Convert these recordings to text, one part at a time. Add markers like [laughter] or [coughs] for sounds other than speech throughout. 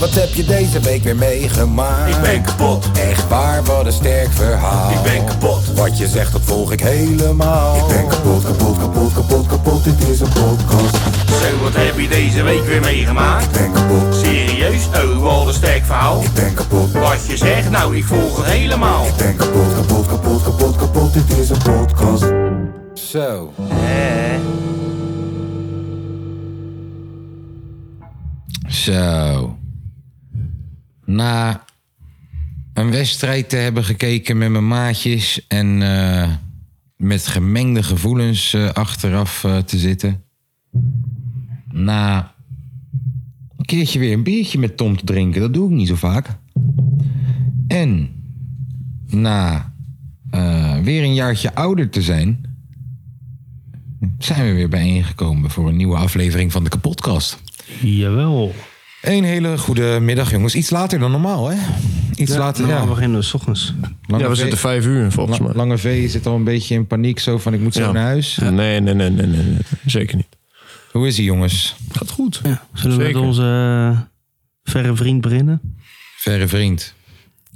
Wat heb je deze week weer meegemaakt? Ik ben kapot. Echt waar, wat een sterk verhaal. Ik ben kapot. Wat je zegt, dat volg ik helemaal. Ik ben kapot, kapot, kapot, kapot, kapot, dit is een podcast. Zo, wat heb je deze week weer meegemaakt? Ik ben kapot, Serieus? Oh, wat een sterk verhaal. ik ben kapot, Wat je zegt, nou, ik volg het helemaal. ik ben kapot, kapot, kapot, kapot, kapot, dit is een podcast. Zo. Zo. Na een wedstrijd te hebben gekeken met mijn maatjes en eh, met gemengde gevoelens eh, achteraf eh, te zitten. Na een keertje weer een biertje met Tom te drinken, dat doe ik niet zo vaak. En na eh, weer een jaartje ouder te zijn, zijn we weer bijeengekomen voor een nieuwe aflevering van de Kapodcast. Jawel. Een hele goede middag, jongens. Iets later dan normaal, hè? Iets later, normaal ja. beginnen we s ochtends. Lange Ja, we V- zitten vijf uur volgens La- mij. Lange V zit al een beetje in paniek, zo van ik moet zo Ja. naar huis. Nee, nee, nee, nee, nee, nee. Zeker niet. Hoe is hij, jongens? Gaat goed. Ja, zullen we Zeker. met onze eh, verre vriend beginnen? Verre vriend.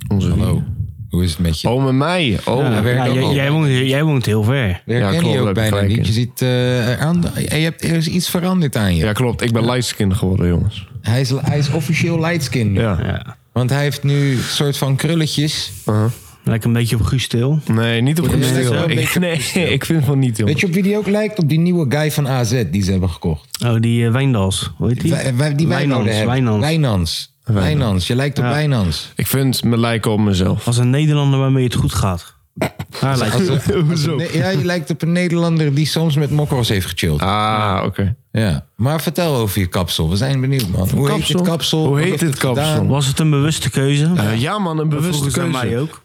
Onze Hallo. Hoe is het met je? Oh, met mij. Oh, Ja, hij ja. werkt ja, ook jij, al. jij woont, jij woont heel ver. We ja, herkennen klopt, je daar heb ook je bijna gelijk niet. Je in. ziet, eh, eraan- je hebt, er is iets veranderd aan je. klopt. Ik ben Leidskind geworden, jongens. Hij, is, hij is officieel lightskin nu. Ja. Ja. Want hij heeft nu een soort van krulletjes. Uh-huh. Lijkt een beetje op Guus Til. Nee, niet op bent gestil. wel een Ik, beetje nee, [laughs] ik vind van niet, Weet jongens. je op wie die ook lijkt? Op die nieuwe guy van AZ die ze hebben gekocht. Oh, die eh, Wijndals. Hoe heet die? Wij- wij- Die wij nodig hebben. Wijnands. Wijnands. Wijnands. Je lijkt op Ja. Wijnands. Ik vind me lijken op mezelf. Als een Nederlander waarmee het goed gaat. Daar lijkt het. [laughs] Als- Nee, ja, je lijkt op een Nederlander die soms met mokros heeft gechilled. Ah, oké. Ja. Maar vertel over je kapsel. We zijn benieuwd, man. Hoe heet Kapsel? dit kapsel? Hoe Wat heet heeft dit het gedaan? kapsel? Was het een bewuste keuze? [laughs] Eh, ja, man, een bewuste Vroegen ze aan keuze. mij ook.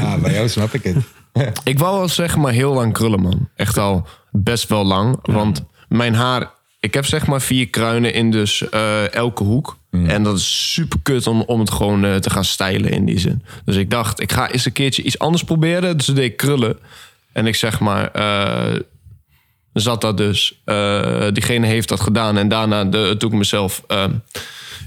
Ja, bij jou snap ik het. [laughs] Ik wou al zeggen, maar heel lang krullen, man. Echt al best wel lang. Want mijn haar... Ik heb zeg maar vier kruinen in dus eh, elke hoek. En dat is super kut om, om het gewoon eh, te gaan stijlen in die zin. Dus ik dacht, ik ga eens een keertje iets anders proberen. Dus toen deed ik krullen. En ik zeg maar... eh, zat dat dus. eh, diegene heeft dat gedaan. En daarna, de, toen ik mezelf eh,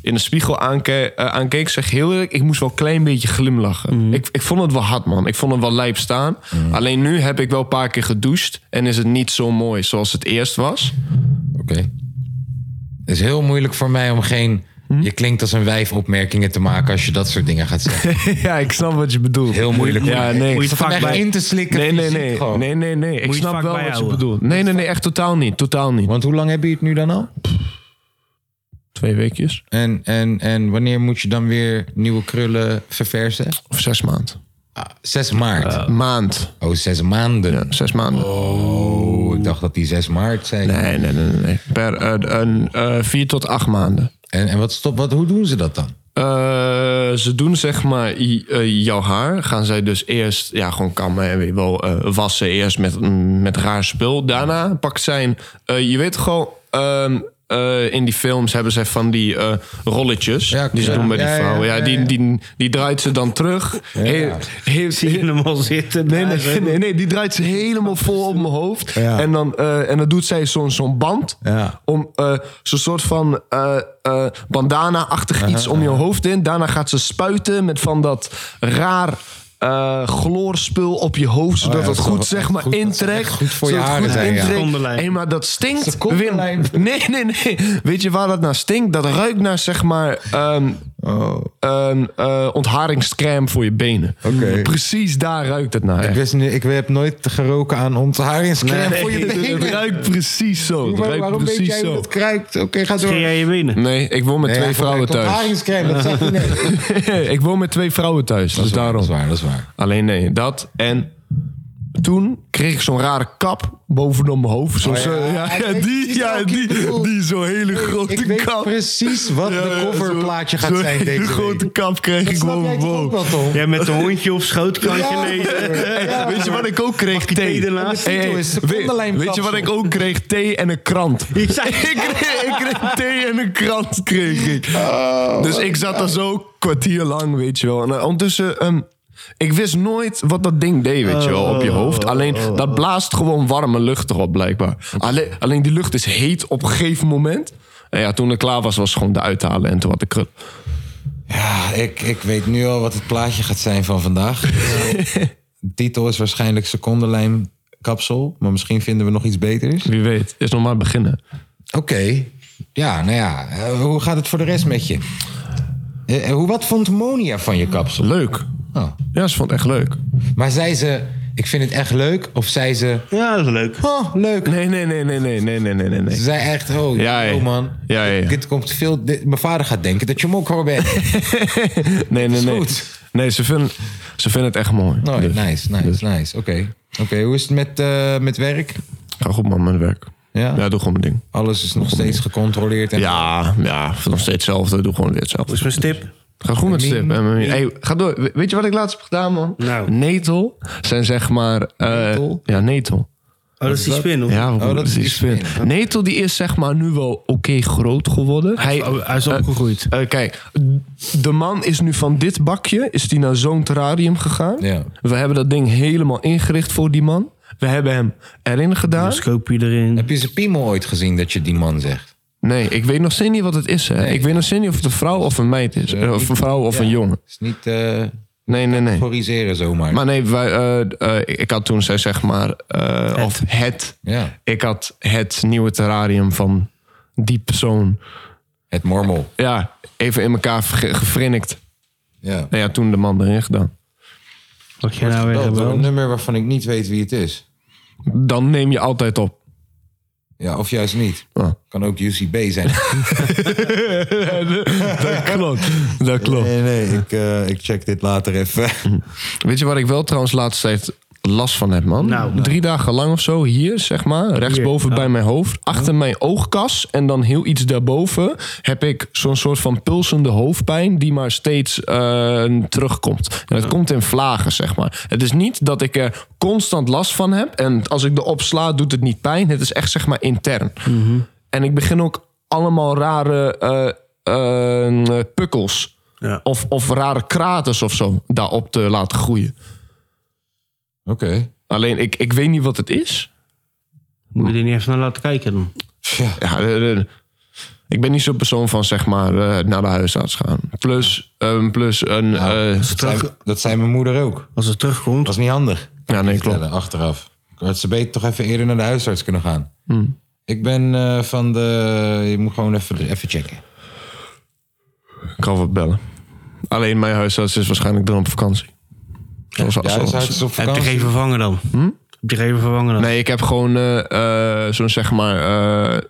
in de spiegel aanke- eh, aankeek, zeg ik heel eerlijk, ik moest wel een klein beetje glimlachen. Ik, ik vond het wel hard, man. Ik vond het wel lijp staan. Alleen nu heb ik wel een paar keer gedoucht. En is het niet zo mooi zoals het eerst was. Oké. Het is heel moeilijk voor mij om geen... Hm? Je klinkt als een wijf opmerkingen te maken als je dat soort dingen [laughs] gaat zeggen. [laughs] ja, ik snap wat je bedoelt. Heel moeilijk. Ja, om- nee. Om Moet je van het vaak echt bij- in te slikken. Nee, nee, fysiek nee. gewoon. Nee, nee, nee. Ik Moet je het snap vaak eh? wel wat je bijhouden. bedoelt. Nee, nee, nee. Echt totaal niet. Totaal niet. Want hoe lang heb je het nu dan al? Twee weekjes. En, en, en wanneer moet je dan weer nieuwe krullen verversen? Ah, Of zes maanden. Zes maart. Maand. Oh, zes maanden. Ja, zes maanden. Oh, ik dacht dat die zes maart zijn. Nee, nee, nee. nee, nee. Per eh, een, eh, vier tot acht maanden. En, en wat stop, wat, hoe doen ze dat dan? Eh, ze doen zeg maar i- eh, jouw haar. Gaan zij dus eerst ja, gewoon kammen en weer wel eh, wassen. Eerst met, mm, met raar spul. Daarna pakt zij een... eh, je weet gewoon... ehm, eh, in die films hebben zij van die eh, rolletjes. Ja, die ze ja. doen bij die Ja, ja, vrouwen. Ja, ja, die, ja. die, die draait ze dan terug. Heel- heel- Zie je hem al zitten? Nee, daar zo? nee, nee, nee, die draait ze helemaal vol op mijn hoofd. Ja. En, dan, eh, en dan doet zij zo'n zo'n band. Ja. Om eh, zo'n soort van eh, eh, bandana-achtig iets om je hoofd in. Daarna gaat ze spuiten met van dat raar eh, gloorspul op je hoofd. Zodat Oh ja, dat het is wel goed, echt zeg maar, goed. Dat is echt intrekt. goed voor je Zodat het haren goed zijn, ja. intrekt. Kondenlijn. Hey, maar dat stinkt. Ze kondenlijn. Wim. [laughs] nee, nee, nee. Weet je waar dat naar stinkt? Dat ruikt naar, zeg maar... ehm, een eh, ontharingscrème voor je benen. Oké. Precies daar ruikt het naar. Ik, echt. wist niet, ik heb nooit geroken aan ontharingscreme Nee, voor je het- benen. Het ruikt precies zo. Het ruikt waarom weet precies jij hoe zo. dat kruikt? Oké, ga door. Ging jij je [laughs] binnen? Nee, ik woon met Nee, twee ja, vrouwen gebruikt thuis. Ontharingscrème, dat zegt hij net. [laughs] ik woon met twee vrouwen thuis. Dus Dat is daarom. waar, dat is waar. Alleen nee, dat en... Toen kreeg ik zo'n rare kap bovenop mijn hoofd. Zo'n- Oh ja. zo- ja, Ik ja, weet die, precies ja, welke je die, bedoelt. die zo'n hele grote Ik weet kap. precies wat Ja, de ja, coverplaatje zo'n- gaat zo'n zijn hele deze grote week. kap kreeg ik Snap jij boven toch mijn ook hoofd. wel, Tom? Jij met een hondje op schoot, krantje Ja. lezen. Hey, weet je wat ik ook kreeg? thee Thee. ernaast? Hey, hey, Tito is de weet, onderlijn weet je wat ik ook kreeg? Thee en een krant. Ik zei- [laughs] ik, kreeg, ik kreeg thee en een krant kreeg ik. dus ik zat daar zo een kwartier lang, weet je wel. En eh, ondertussen, ehm, ik wist nooit wat dat ding deed, weet je wel, op je hoofd. Alleen, dat blaast gewoon warme lucht erop, blijkbaar. Alleen, alleen die lucht is heet op een gegeven moment. En ja, toen ik klaar was, was het gewoon de uithalen. En toen had ik krul. Ja, ik, ik weet nu al wat het plaatje gaat zijn van vandaag. De titel is waarschijnlijk secondenlijm kapsel. Maar misschien vinden we nog iets beters. Wie weet, is nog maar beginnen. Oké. Ja, nou ja. eh, hoe gaat het voor de rest met je? Eh, eh, hoe, wat vond Monia van je kapsel? Leuk. Oh. Ja, ze vond het echt leuk. Maar zei ze, ik vind het echt leuk? Of zei ze, Ja, dat is leuk. oh, leuk. Nee, nee, nee, nee, nee, nee, nee, nee, nee, Ze nee. zei echt, oh, Ja, ja. oh man. Ja, ja, ja. Dit komt veel... dit- mijn vader gaat denken dat je mokhoor bent. [laughs] Nee, nee, Is nee. goed. Nee, ze vinden, ze vinden het echt mooi. Oh, Dus, nice, nice, nice. Oké, oké. hoe is het met, eh, met werk? Ga goed man, mijn werk. Ja? Ja, doe gewoon mijn ding. Alles is nog steeds gecontroleerd. En Ja, ja, nog steeds hetzelfde. Doe gewoon weer Hoe is hetzelfde. mijn stip? Ga goed met Mien. stip. hè, Mien. Hey, ga door. We- Weet je wat ik laatst heb gedaan, man? Nou. Netel zijn zeg maar... eh, Netel? Ja, netel. Oh, dat is die spin, hoor. Ja, dat dat is is die die spin. Netel die is zeg maar nu wel oké groot geworden. Hij, hij is opgegroeid. eh, kijk, de man is nu van dit bakje is die naar zo'n terrarium gegaan. Ja. We hebben dat ding helemaal ingericht voor die man. We hebben hem erin gedaan. Dan scoop je erin. Heb je zijn piemel ooit gezien dat je die man zegt? Nee, ik weet nog steeds niet wat het is. Hè. Ik weet nog steeds niet of het een vrouw of een meid is. Eh, of een vrouw of een jongen. Het is niet eh Nee, nee, nee. corrigeren zomaar. Maar nee, wij, eh, eh, ik had toen, zij zeg maar, eh, of het. ja, Ik had het nieuwe terrarium van die persoon. het mormel. Ja, even in elkaar ge- gefrinnikt. Ja. Nou ja, toen de man erin gedaan. Wat jij nou weer Dat is een hebben? nummer waarvan ik niet weet wie het is. Dan neem je altijd op. Ja, of juist niet. Ah. Kan ook UCB [laughs] zijn. Dat klopt. Dat klopt. nee, ik, eh, ik check dit later even. Weet je waar ik wel trouwens laatst tijd last van heb, man? Nou. Drie dagen lang of zo, hier zeg maar, rechtsboven bij mijn hoofd, achter mijn oogkas en dan heel iets daarboven, heb ik zo'n soort van pulsende hoofdpijn die maar steeds eh, terugkomt. En het komt in vlagen, zeg maar. Het is niet dat ik er constant last van heb en als ik erop sla, doet het niet pijn. Het is echt zeg maar intern. Mhm. En ik begin ook allemaal rare eh, eh, pukkels. Ja. Of, of rare kraters of zo daarop te laten groeien. [laughs] Oké. Alleen ik, ik weet niet wat het is. Moet je er niet even naar laten kijken dan? Ja. Ja, eh, eh, ik ben niet zo'n persoon van zeg maar eh, naar de huisarts gaan. Plus, ehm, plus een. eh, Dat zei, dat zei mijn moeder ook. Dat Als het terugkomt. was niet handig. ja, nee, klopt. vertellen achteraf. Ik had ze beter toch even eerder naar de huisarts kunnen gaan. Ik ben eh, van de... Je moet gewoon even, even checken. Ik kan wat bellen. Alleen mijn huisarts is waarschijnlijk dan op vakantie. Zoals, Ja, zoals- huisarts is op Heb je vakantie. Hm? geen vervangen dan? Heb je geen vervangen dan? Nee, ik heb gewoon eh, eh, zo'n zeg maar eh, eh,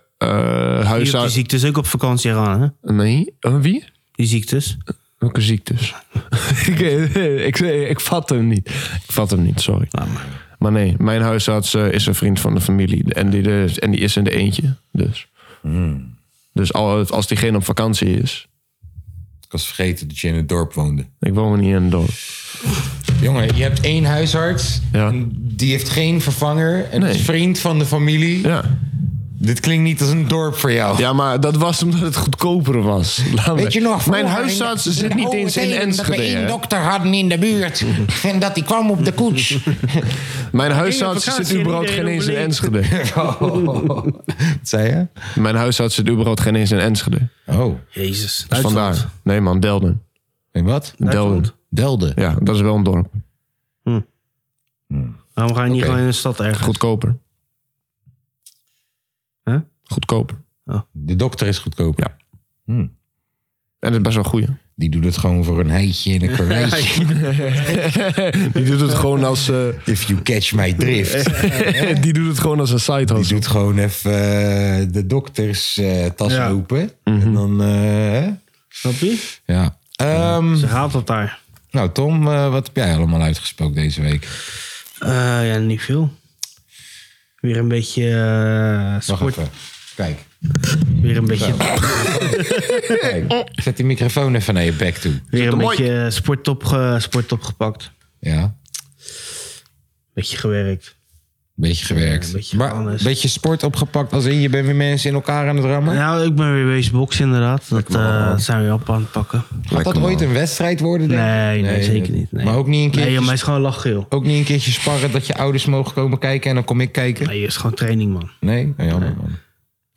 Die- Die huisarts. ziektes ook op vakantie gaan, hè? Nee, eh, wie? Die ziektes. Welke ziektes? [laughs] ik, eh, ik, ik vat hem niet. Ik vat hem niet, sorry. Nou, Ah, Maar nee, mijn huisarts eh, is een vriend van de familie. En die, de- en die is in de eentje. Dus, dus al, als diegene op vakantie is. Ik was vergeten dat je in het dorp woonde. Ik woon niet in een dorp. Jongen, je hebt één huisarts. Ja. en Die heeft geen vervanger. En Nee. is vriend van de familie. Ja. Dit klinkt niet als een dorp voor jou. ja, maar dat was omdat het goedkoper was. Laat maar. Weet je nog? Mijn vroeger huisarts in de- zit in de niet oude eens in tijden Dat we één Enschede. hè. dokter hadden in de buurt. en dat die kwam op de [laughs] koets. Mijn huisarts vakantie zit en überhaupt geen iedereen eens in overleeft. Enschede. Wat zei je? [laughs] Mijn huisarts zit überhaupt geen eens in Enschede. Oh, Jezus. Dus vandaar. Nee man, Delden. en wat? Delden. Delden. Ja, dat is wel een dorp. Waarom ga je niet Oké. gewoon in de stad ergens? Goedkoper. Huh? Goedkoper. De dokter is goedkoop. Ja. En dat is best wel goed. Die doet het gewoon voor een heitje en een karweitje. [laughs] die doet het gewoon als, eh, If you catch [laughs] my drift. die doet het gewoon als een side Die hustle. doet gewoon even eh, de dokters eh, tas Ja. open. Mhm. En dan... eh, hè? Snap je? ja. Ehm, Ze haalt dat daar. nou Tom, eh, wat heb jij allemaal uitgesproken deze week? Eh, ja, niet veel. Weer een beetje eh Wacht sport. even. Kijk. Weer een beetje, Kijk, zet die microfoon even naar je bek toe. weer een mooi. beetje eh, sport, opge, sport opgepakt. Ja, Beetje gewerkt. beetje gewerkt. Ja, een beetje maar gevangenis. beetje sport opgepakt als in je bent weer mensen in elkaar aan het rammen. Nou, ik ben weer bezig boksen inderdaad. Dat eh, dat zijn we op aan het pakken. Gaat dat ooit een wedstrijd worden? Nee, denk je? nee, zeker niet. Nee. Maar ook niet een Nee, keertje, joh, maar het is gewoon lachgeel. ook niet een keertje sparren dat je ouders mogen komen kijken en dan kom ik kijken? Nee, het is gewoon training, man. Nee? Nou, jammer man.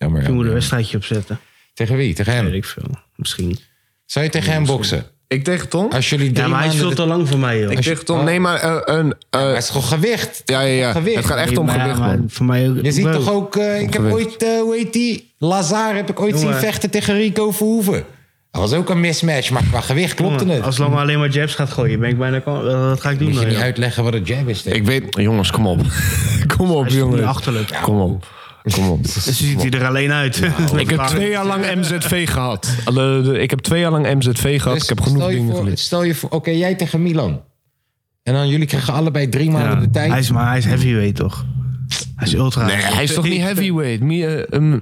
Jammer, Je moet jammer, een jammer. wedstrijdje opzetten. Tegen wie? Tegen Weet hem? ik veel. Misschien. Zou je tegen hem boksen? Ik tegen Tom? Als jullie drie Ja, maar hij is maanden veel te de- lang voor mij, joh. Ik tegen Tom, nee, maar eh, een... eh, Oh. Maar Het is gewoon gewicht. ja, ja, ja. gewicht. Het gaat echt om Maar ja, gewicht, maar man. Voor mij ook. Je ziet Bro, toch ook, eh, ik heb Gewicht. ooit, eh, hoe heet die? Lazar heb ik ooit Jongen. zien vechten tegen Rico Verhoeven. Dat was ook een mismatch, maar qua gewicht klopte jongen, het. Als Lange alleen maar jabs gaat gooien, ben ik bijna... kan- eh, Wat ga ik doen Moet je dan, niet joh? uitleggen wat een jab is. denk ik. Ik weet... Jongens, kom op. [laughs] kom op, is toch jongens. niet achterlijk? Kom op. Kom op. Dus ziet hij er alleen uit. Ik heb twee jaar lang [laughs] MZV gehad. Alle- de- Ik heb twee jaar lang MZV gehad. Dus Ik heb genoeg stel je dingen voor- geleerd. Stel je voor, oké, jij tegen Milan. En dan jullie krijgen allebei drie maanden de tijd. Hij is, maar hij is heavyweight, toch? Hij is ultra. Nee, hij is toch niet heavyweight? Mi- eh, ehm,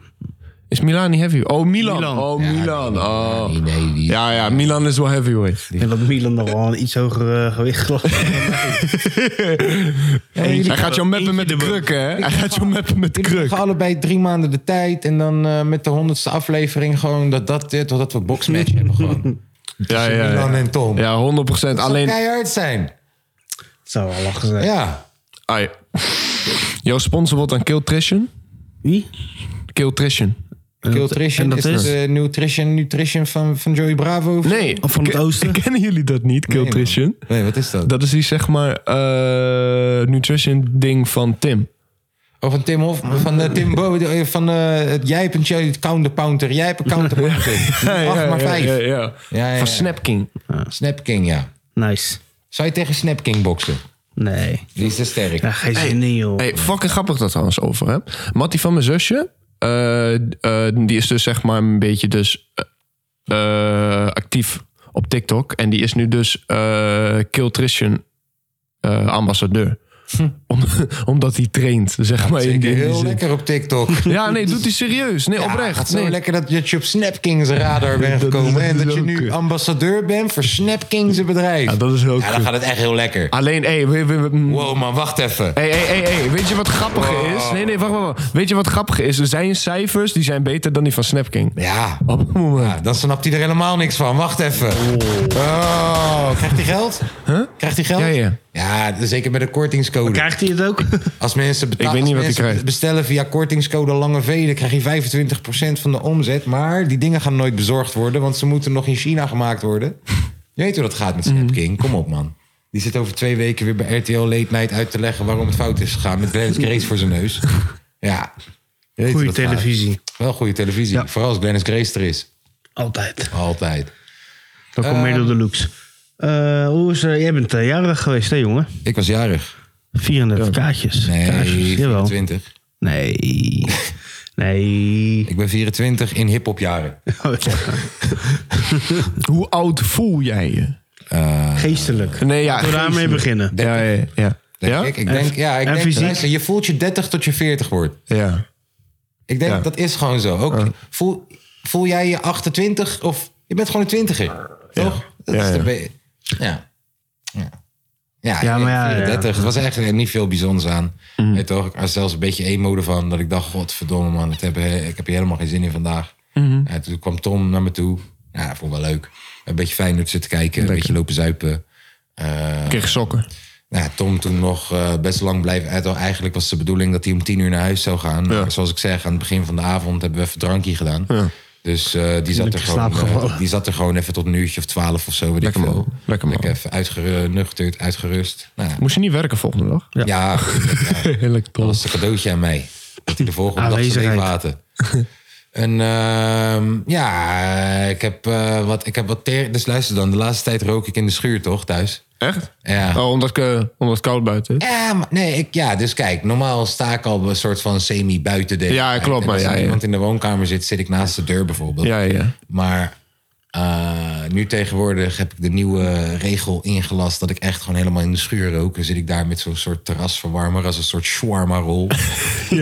is Milan niet heavy? Oh, Milan. Milan. Oh, Milan. Oh. Nee, nee, die- Ja, ja, Milan is wel heavyweight. Ik denk dat Milan nog wel een iets hoger eh, gewicht geloof. Hij gaat jou meppen met de kruk, hè? Hij gaat jou meppen met de Jullie kruk. krijgen allebei drie maanden de tijd. En dan eh, met de honderdste aflevering gewoon dat, dat, dit, dat we een boxmatch hebben. [laughs] Gewoon. Ja, ja, Milan ja. en Tom. Ja, 100%. Dat zou Alleen, keihard zijn. Het zou wel lachen zijn. Ja. Ai. Jouw sponsor wordt aan Killtrition. Wie? Killtrition. Nutrition en dat is? is, de nutrition, nutrition van, van Joey Bravo. Nee. Of van het Ken- oosten? [laughs] Kennen jullie dat niet, Killtrition? Nee, wat is dat? Dat is die, zeg maar, eh, nutrition ding van Tim. Of Oh, van Tim Hof, van eh, Tim Bo, eh, van eh, het jijpentje, het counterpounter, jijpen [laughs] counterpounter. Ja, ja, 8 maar ja, 5. ja, ja. ja, ja. Van Snapking. Snapking, ja. Nice. Zou je tegen Snapking boksen? Nee. Die is te sterk. Ja, geen zin in, joh. Hey, fucking grappig dat trouwens over, hè? Mattie van mijn zusje, eh, eh, die is dus zeg maar een beetje dus eh, eh, actief op TikTok. En die is nu dus eh Killtrition eh, ambassadeur. Om- [laughs] omdat hij traint, zeg maar. in die- Hm. Zeker in die heel zin. lekker [laughs] op Tiktok. Ja, nee, doet hij serieus. Nee, Ja, oprecht. het is zo nee. lekker dat je op Snapkings radar bent [laughs] dat is- gekomen. dat en is dat je ook nu kut. ambassadeur bent voor Snapkings bedrijf. Ja, dat is ook Ja, dan kut. gaat het echt heel lekker. Alleen, hey, we, we- we- Wow man, wacht even. Hey, hey, hey, hey, weet je wat grappig is? Nee, nee, wacht, wacht, wacht. Weet je wat grappig is? Er zijn cijfers die zijn beter dan die van Snapking. Ja, Op het moment. ja, dan snapt hij er helemaal niks van. Wacht even. Oh, krijgt hij geld? Krijgt hij geld? Ja, ja. Ja, zeker met een kortingscode. Krijgt hij het ook? [laughs] Als mensen, beta- Ik weet niet als wat hij mensen krijgt. bestellen via kortingscode Lange V, dan krijg je 25% van de omzet. Maar die dingen gaan nooit bezorgd worden, want ze moeten nog in China gemaakt worden. Je weet hoe dat gaat met Snapking. Kom op, man. Die zit over twee weken weer bij RTL Late Night uit te leggen waarom het fout is gegaan. Met Glennis Grace voor zijn neus. Ja. Je weet hoe Goeie dat gaat. televisie. Wel goede televisie. Ja. Vooral als Glennis Grace er is. Altijd. Altijd. Dat komt meer door de looks. Ehm, Eh, hoe is, eh, jij bent eh, jarig geweest, hè, jongen? Ik was jarig. 34 kaartjes. Nee, kaartjes. Jawel. [laughs] 24. Nee. Nee. Ik ben 24 in hip-hop jaren. Oh, Hoe oud voel jij je? Ah. Geestelijk. Nee, ja. Laten we daarmee geestelijk. beginnen. Ja, ja, ja. Denk Ja? ik. Ik denk, ja, ik en denk, fysiek? luister, je voelt je 30 tot je 40 wordt. Ja. Ik denk Ja. dat is gewoon zo. Ook, voel, voel jij je 28 of je bent gewoon een 20er? Toch? Dat Ja, is de ja. be- ja. Ja. Ja, Ja, ik maar ja, 34. Het was echt eh, niet veel bijzonders aan. Mhm. Weet toch? Ik was zelfs een beetje emo ervan. Dat ik dacht, godverdomme man, het heb, eh, ik heb hier helemaal geen zin in vandaag. Mhm. En toen kwam Tom naar me toe. Ja, vond ik wel leuk. Een beetje fijn zitten kijken. Een beetje lopen zuipen. Eh, Kreeg sokken. nou, ja, Tom toen nog eh, best lang blijven uit. Eigenlijk was de bedoeling dat hij om tien uur naar huis zou gaan. Maar zoals ik zeg, aan het begin van de avond hebben we even drankje gedaan. Dus eh, die, zat er in slaap gewoon, eh, gevallen. die zat er gewoon even tot een uurtje of twaalf of zo. Weet Lekker ik veel. man. Lekker man. even uitgenuchterd, uitgerust. Nou, ja, Moest je niet werken volgende dag? ja. [laughs] Heerlijk dat tof. was een cadeautje aan mij. Dat hij de volgende dag zijn Aanwezigheid. [laughs] leven haatte. En ehm, ja, ik heb eh, wat... Ik heb wat ter, dus luister dan, de laatste tijd rook ik in de schuur toch, thuis? Echt? Ja. Oh, omdat, ik, eh, omdat het koud buiten is? Ja, maar nee, ik, ja, dus kijk, normaal sta ik al een soort van semi buiten de. Ja, klopt, maar Als ja, er ja. iemand in de woonkamer zit, zit ik naast de deur bijvoorbeeld. Ja, ja. Maar eh, nu tegenwoordig heb ik de nieuwe regel ingelast dat ik echt gewoon helemaal in de schuur rook. Dan zit ik daar met zo'n soort terrasverwarmer als een soort shawarma-rol. [laughs] [laughs]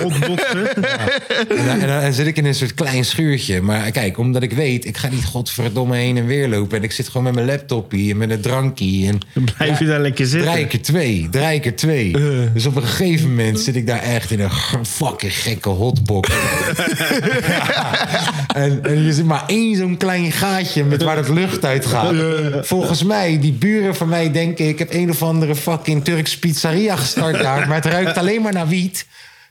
En dan, en dan- en zit ik in een soort klein schuurtje. Maar kijk, omdat ik weet, ik ga niet godverdomme heen en weer lopen. En ik zit gewoon met mijn laptopje en met een drankje. En Dan blijf je daar lekker zitten. Drie keer twee, drie keer twee. Dus op een gegeven moment zit ik daar echt in een g- fucking gekke hotbox. [laughs] Ja. en, en je zit maar één zo'n klein gaatje met waar het lucht uit gaat. Volgens mij, die buren van mij denken... ik heb een of andere fucking Turks pizzeria gestart daar... maar het ruikt alleen maar naar wiet.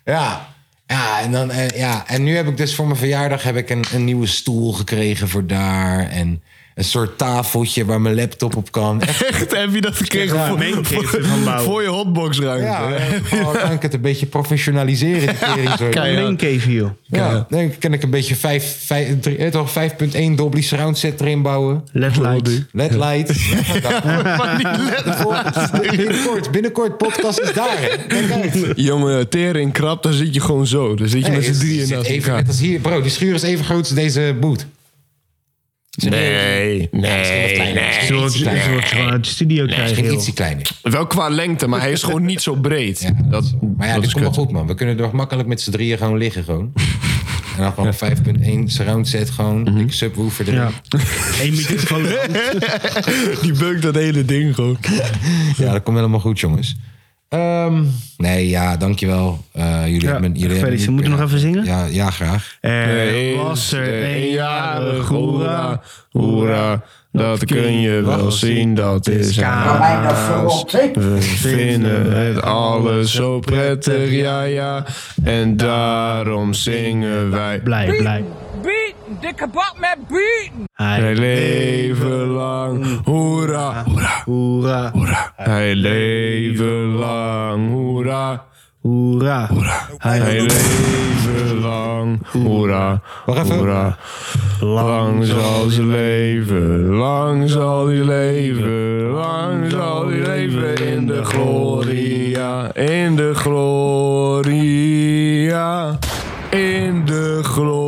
Ja, Ja en, dan, en, ja, en nu heb ik dus voor mijn verjaardag heb ik een, een nieuwe stoel gekregen voor daar. En een soort tafeltje waar mijn laptop op kan. Echt, [laughs] Echt, heb je dat gekregen Ja, voor, meegekregen voor, van Bouw. voor je hotboxruimte? ja, [laughs] oh, kan ik het een beetje professionaliseren? die tering zo. Kijk. Ja. Link even, joh. Ja, dan kan ik een beetje vijf- vijf- drie- eh, toch, 5.1 Dolby surround set erin bouwen. Led light. LED light. [laughs] Ja, dat- Maar die [laughs] led- binnenkort, binnenkort, podcast is [laughs] daar. hè. Kijk uit. Jongen, tering krap, dan zit je gewoon zo. Dan zit je met Hey, z'n drieën zit naast even, elkaar. net als hier, bro, die schuur is even groot als deze boot. Nee, nee, kleiner. nee. Zullen we zullen we het gewoon uit de studio krijgen, Misschien joh? ietsje kleiner. Wel qua lengte, maar hij is gewoon niet zo breed. dat, Maar ja, dat dit is komt wel kut. goed, man. We kunnen er makkelijk met z'n drieën gewoon liggen, [laughs] gewoon. En dan gewoon 5.1 surround set, gewoon. Mhm. dikke subwoofer erin. Ja. Ja. Eén [laughs] microfoon. Die beukt dat hele ding gewoon. dat komt helemaal goed, jongens. Ehm, nee, ja, dankjewel. Eh jullie Ja, hebben... Jullie hebben gefeliciteerd. Moeten we nog even zingen? Ja, ja, graag. Er was er een jarig, hoera, hoera. Dat kun je wel zien, dat is haast. We vinden het alles zo prettig, ja, ja. En daarom zingen wij. Blij, blij. Bieten, dikke bak met bieten. Hij Hij leven Mm. lang, hoera, hoera, Hoera, hoera. Hij leven lang, hoera, hoera. Hij Hij leven lang, hoera, Wacht even. hoera. Lang zal ze leven, lang zal hij leven, lang zal hij leven in de gloria, in de gloria, in de gloria.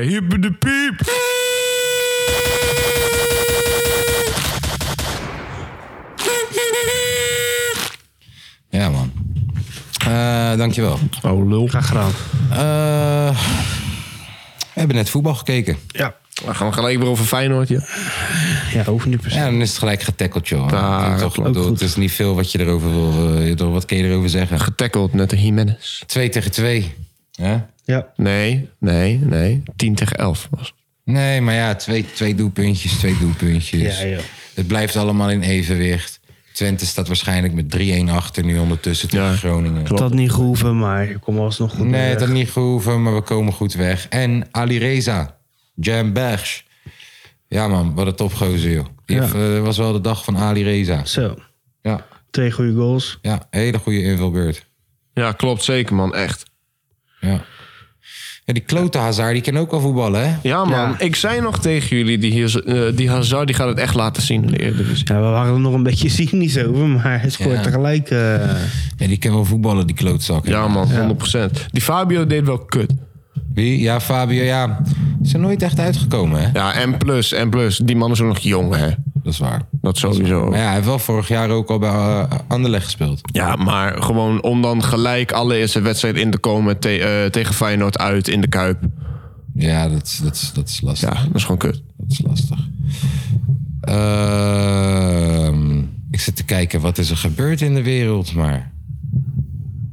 Hiep de piep. Ja, man. Eh, dankjewel. Oh lul. Graag gedaan. Eh, we hebben net voetbal gekeken. Ja. Dan gaan we gelijk weer over Feyenoord, ja. Ja, hoeft niet per se. Ja, dan is het gelijk getackled, joh. Ah, Ik toch, ook bedoel, goed. het is niet veel wat je erover wil... eh, door wat kun je erover zeggen? Getackled, net de Jimenez. Twee tegen twee. Ja? Ja. Nee, nee, nee. 10 tegen 11 was het. Nee, maar ja, twee, twee doelpuntjes, twee doelpuntjes. Ja, joh. Het blijft allemaal in evenwicht. Twente staat waarschijnlijk met 3-1 achter nu ondertussen tegen Ja, Groningen. Het had niet gehoeven, maar ik kom alsnog goed Nee, het weg. had niet gehoeven, maar we komen goed weg. En Ali Reza, Jam Bergs. Ja man, wat een topgozer joh. Die Ja. heeft, eh, was wel de dag van Ali Reza. Zo, Ja, twee goede goals. ja hele goede invalbeurt. Ja, klopt zeker, man. Echt. Ja. ja, die klote Hazard, die kan ook wel voetballen hè? Ja, man. Ik zei nog tegen jullie, die, hier, eh, die Hazard die gaat het echt laten zien in de Eredivisie. Ja, we waren er nog een beetje [laughs] cynisch over, maar hij scoort Ja. tegelijk. eh, Ja, die kan wel voetballen, die klootzak. Ja, man. 100%. Die Fabio deed wel kut. Wie? Ja, Fabio, ja. Ze zijn nooit echt uitgekomen hè? Ja, en plus, en plus. Die man is ook nog jong, hè. Dat is waar. Dat sowieso. Maar ja, hij heeft wel vorig jaar ook al bij eh, Anderlecht gespeeld. Ja, maar gewoon om dan gelijk allereerste wedstrijd in te komen te- eh, tegen Feyenoord uit in de Kuip. Ja, dat, is- dat, is- dat is lastig. Ja, dat is gewoon kut. Dat is lastig. Ehm, ik zit te kijken, wat is er gebeurd in de wereld, maar...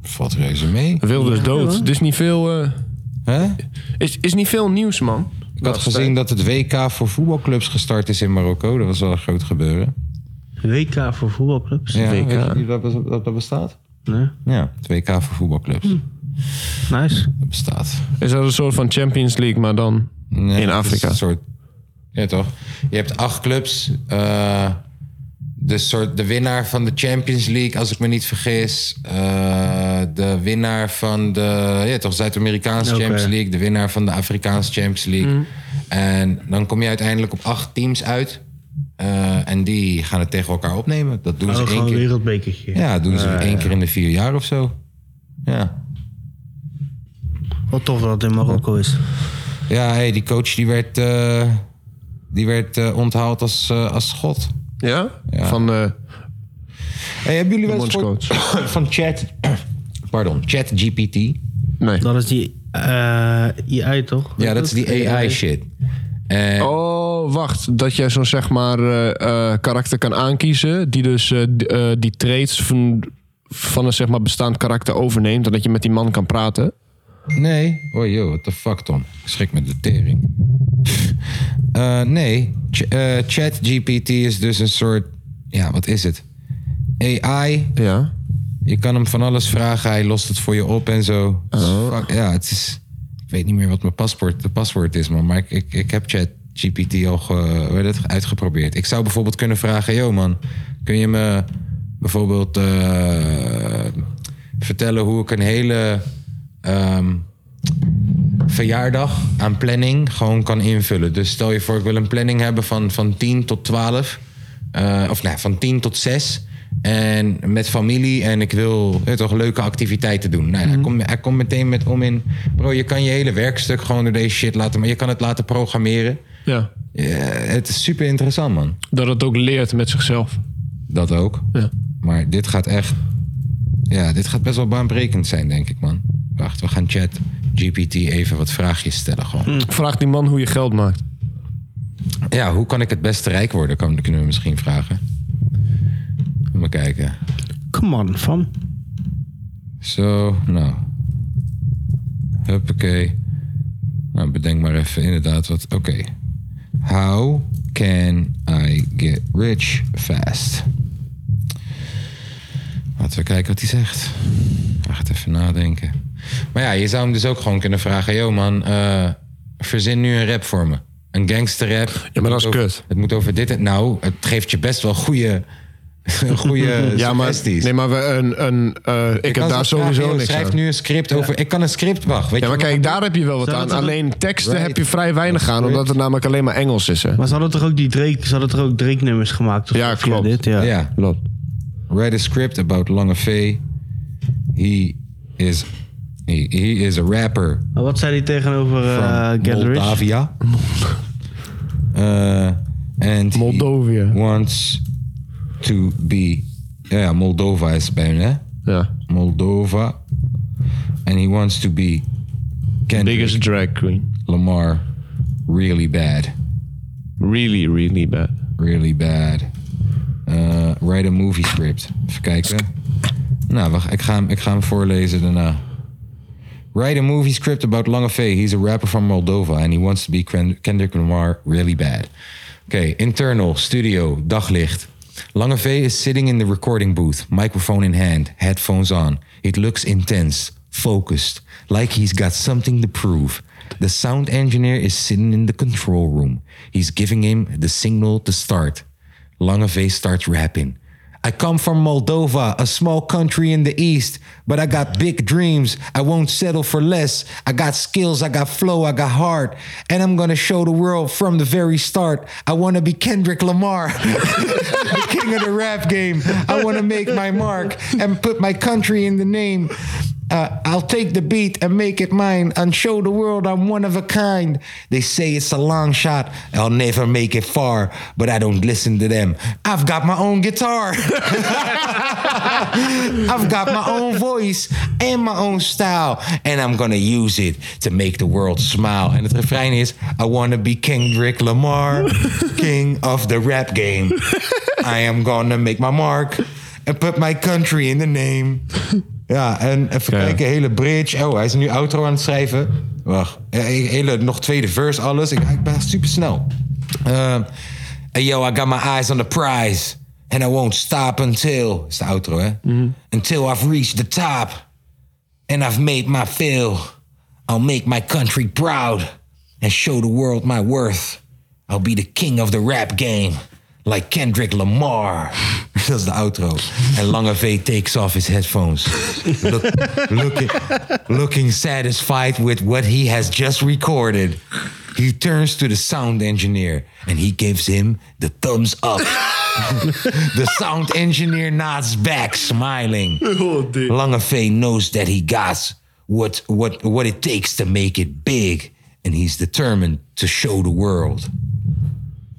Valt reuze mee. Wilde is dood. Het is niet veel, eh, hè? is, is niet veel nieuws, man. Ik had gezien dat het WK voor voetbalclubs gestart is in Marokko. Dat was wel een groot gebeuren. WK voor voetbalclubs. Ja, WK. Weet je niet dat, dat dat bestaat? Hm. Nee. Ja, het WK voor voetbalclubs. Nice. Dat bestaat. Is dat een soort van Champions League, maar dan Nee, in het is Afrika? Een soort, ja, toch? Je hebt acht clubs. eh, de, soort, de winnaar van de Champions League, als ik me niet vergis. eh, de winnaar van de ja, toch, Zuid-Amerikaanse Oké. Champions League. De winnaar van de Afrikaanse Champions League. En dan kom je uiteindelijk op acht teams uit. Eh, en die gaan het tegen elkaar opnemen. Dat doen ze Oh, één gewoon een keer. wereldbekertje. Ja, dat doen ze één keer in de vier jaar of zo. Ja. Wat tof dat het in Marokko is. Ja, hey, die coach die werd, eh, die werd eh, onthaald als, eh, als schot. Ja? Van eh, Hey, hebben jullie de wel eens gehoord bondscoach. [coughs] van chat... Pardon, chat GPT. Nee. Dat is die eh AI, toch? Ja, dat is die AI shit. Eh, Oh, wacht. Dat jij zo'n zeg maar eh, eh, karakter kan aankiezen. Die dus eh, d- eh, die traits van, van een zeg maar bestaand karakter overneemt. En dat je met die man kan praten. Nee. Oh joh, what the fuck Tom. Ik schrik met de tering. [laughs] Eh, nee, Ch eh, chat GPT is dus een soort... Ja, wat is het? AI Ja. Je kan hem van alles vragen, hij lost het voor je op en zo. Dus fuck, ja, het is. Ik weet niet meer wat mijn paspoort, de paswoord is, man. Maar ik, ik, ik heb chat GPT al ge- hoe heet het, uitgeprobeerd. Ik zou bijvoorbeeld kunnen vragen: yo man, kun je me bijvoorbeeld eh, vertellen hoe ik een hele ehm, verjaardag aan planning gewoon kan invullen. Dus stel je voor, ik wil een planning hebben van, van 10 tot 12. eh, of nee, van 10 tot 6. En met familie en ik wil eh, toch leuke activiteiten doen. Nou, hij, komt, hij komt meteen met om in. Bro, je kan je hele werkstuk gewoon door deze shit laten. Maar je kan het laten programmeren. Ja. Eh, het is super interessant, man. Dat het ook leert met zichzelf. Dat ook. Ja. Maar dit gaat echt. Ja, dit gaat best wel baanbrekend zijn, denk ik, man. Wacht, we gaan chat GPT even wat vraagjes stellen, gewoon. Vraag die man hoe je geld maakt. Ja, hoe kan ik het beste rijk worden? Kan- Kunnen we misschien vragen. Even kijken. Come on, fam. Zo, nou. Huppakee. Nou, bedenk maar even inderdaad wat. Oké. How can I get rich fast? Laten we kijken wat hij zegt. Hij gaat even nadenken. Maar ja, je zou hem dus ook gewoon kunnen vragen: Yo man, eh, verzin nu een rap voor me. Een gangsterrap. Ja, maar dat is Het moet kut. over- Het moet over dit en. Nou, het geeft je best wel goede. [laughs] goede [laughs] Ja, maar, Eh, suggesties. nee, maar we een, een, eh, ik, Je heb kan daar sowieso zo vragen, joh, niks Schrijf aan. nu een script over. Ik kan een script, wacht. Weet Ja, je maar wat kijk, ik daar heb je wel wat Zou aan. dat- Alleen teksten Right. heb je vrij weinig aan, omdat het namelijk alleen maar Engels is. Hè? Maar ze hadden toch ook die Drake, ze hadden toch ook Drake nummers gemaakt? of Ja, zo? Via klopt. Dit, ja. doe? Ja, Klopt. write a script about Lange V. He is, he, he is a rapper Maar wat zei hij tegenover eh from Get Rich? Moldavia. Eh, and he Moldovië. wants to be... Ja, Moldova is bij hem, hè? Ja. Moldova. And he wants to be Kendrick Biggest drag queen. Lamar really bad. Really, really bad. Really bad. Eh, write a movie script. Even kijken. Nou, wacht. Ik ga hem, ik ga hem voorlezen daarna. Write a movie script about Lange V. He's a rapper from Moldova and he wants to be Ken- Kendrick Lamar really bad. Oké, internal, studio, daglicht. Lange V is sitting in the recording booth, microphone in hand, headphones on. It looks intense, focused, like he's got something to prove. The sound engineer is sitting in the control room. He's giving him the signal to start. Lange V starts rapping. I come from Moldova, a small country in the east, but I got big dreams. I won't settle for less. I got skills, I got flow, I got heart, and I'm gonna show the world from the very start. I wanna be Kendrick Lamar, [laughs] the king of the rap game. I wanna make my mark and put my country in the name. Uh, I'll take the beat and make it mine and show the world I'm one of a kind. They say it's a long shot, I'll never make it far, but I don't listen to them. I've got my own guitar, [laughs] I've got my own voice and my own style, and I'm gonna use it to make the world smile. En het refrein is: I wanna be Kendrick Lamar, king of the rap game. I am gonna make my mark and put my country in the name. Ja, en even kijken, hele bridge. Oh, hij is nu outro aan het schrijven. Wacht, eh, hele, nog tweede verse, alles. Ik, ik ben super snel. yo, I got my eyes on the prize. And I won't stop until... is de outro, hè? Until I've reached the top. And I've made my fill. I'll make my country proud. And show the world my worth. I'll be the king of the rap game. Like Kendrick Lamar. [laughs] Dat is de outro. En Lange V takes off his headphones. Look, looking, looking satisfied with what he has just recorded. He turns to the sound engineer and he gives him the thumbs up. [laughs] the sound engineer nods back, smiling. Lange V knows that he got what, what, what it takes to make it big. And he's determined to show the world.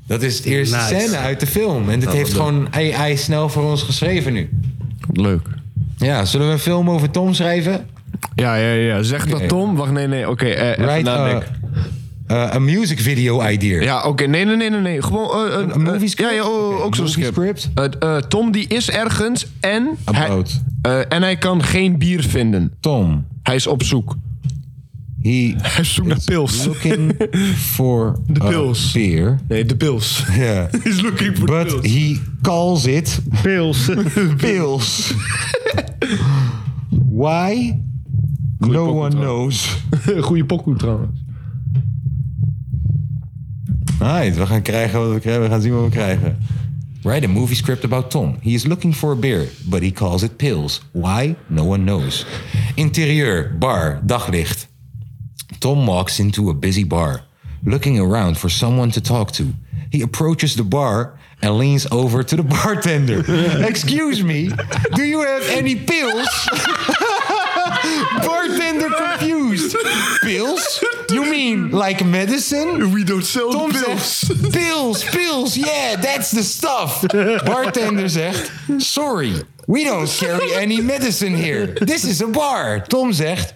Dat is de eerste Nice. scène uit de film. En dit Nou, heeft gewoon AI snel voor ons geschreven nu. Leuk. Ja, zullen we een film over Tom schrijven? Ja, ja, ja. Zeg dat Tom. Wacht, nee, nee. Oké, eh, even Write a, nadenken. uh, a, a music video idea. Ja, oké. Nee, nee, nee, nee, nee. Gewoon eh, eh, Een movie eh, script? Ja, ja oh, Oké, ook zo'n movie script. script. Eh, eh, Tom die is ergens en hij, About. eh, en hij kan geen bier vinden. Tom, Hij is op zoek. [laughs] he Hij is op zoek naar pils. looking for De a pils. beer. Nee, de pils. [laughs] [laughs] Ja. He's looking for [laughs] But he calls it Pils. pills. Why? no pokoe [laughs] one knows. Goede pokoe trouwens. Right, we gaan krijgen wat we krijgen. We gaan zien wat we krijgen. Write a movie script about Tom. He is looking for a beer, but he calls it pills. Why? No one knows. Interieur, bar, daglicht. Tom walks into a busy bar, looking around for someone to talk to. He approaches the bar and leans over to the [laughs] bartender. Excuse me, do you have any pills? [laughs] bartender confused. Pills? You mean like medicine? We don't sell Tom zegt, pils, pils, yeah, that's the stuff. Bartender zegt, sorry, we don't carry any medicine here. This is a bar. Tom zegt,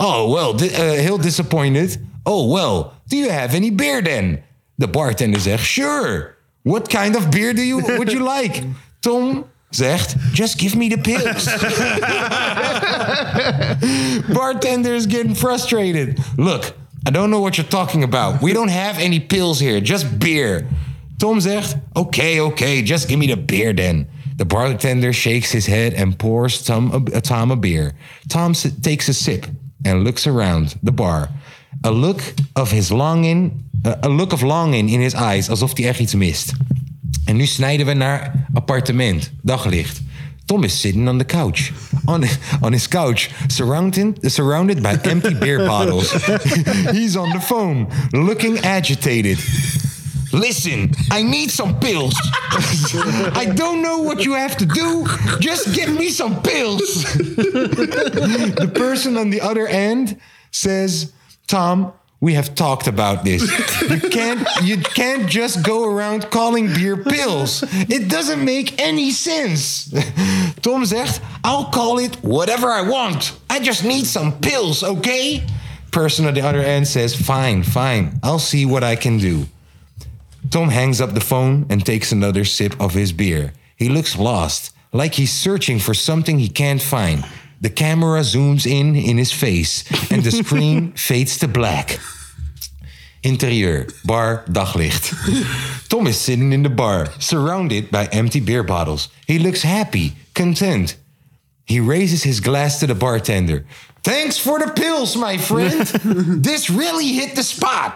oh well, di- eh, heel disappointed. Oh well, do you have any beer then? De bartender zegt, sure. What kind of beer do you, would you like? Tom zegt, just give me the pills. Bartender is getting frustrated. Look, I don't know what you're talking about. We don't have any pills here, just beer. Tom zegt, okay, okay, just give me the beer then. The bartender shakes his head and pours Tom a, uh, Tom a beer. Tom s- takes a sip and looks around the bar. A look of his longing, uh, a look of longing in his eyes, alsof hij echt iets mist. En nu snijden we naar appartement, daglicht. Tom is sitting on the couch. On, on his couch, surrounded, surrounded by empty beer bottles. [laughs] He's on the phone, looking agitated. Listen, I need some pills. [laughs] I don't know what you have to do. Just get me some pills. the person on the other end says, Tom, we have talked about this. You can't you can't just go around calling beer pills. It doesn't make any sense. Tom zegt, I'll call it whatever I want. I just need some pills, okay? Person on the other end says, fine, fine. I'll see what I can do. Tom hangs up the phone and takes another sip of his beer. He looks lost, like he's searching for something he can't find. The camera zooms in in his face and the screen fades to black. Interieur, bar, daglicht. Tom is sitting in the bar, surrounded by empty beer bottles. He looks happy, content. He raises his glass to the bartender. Thanks for the pills, my friend. this really hit the spot.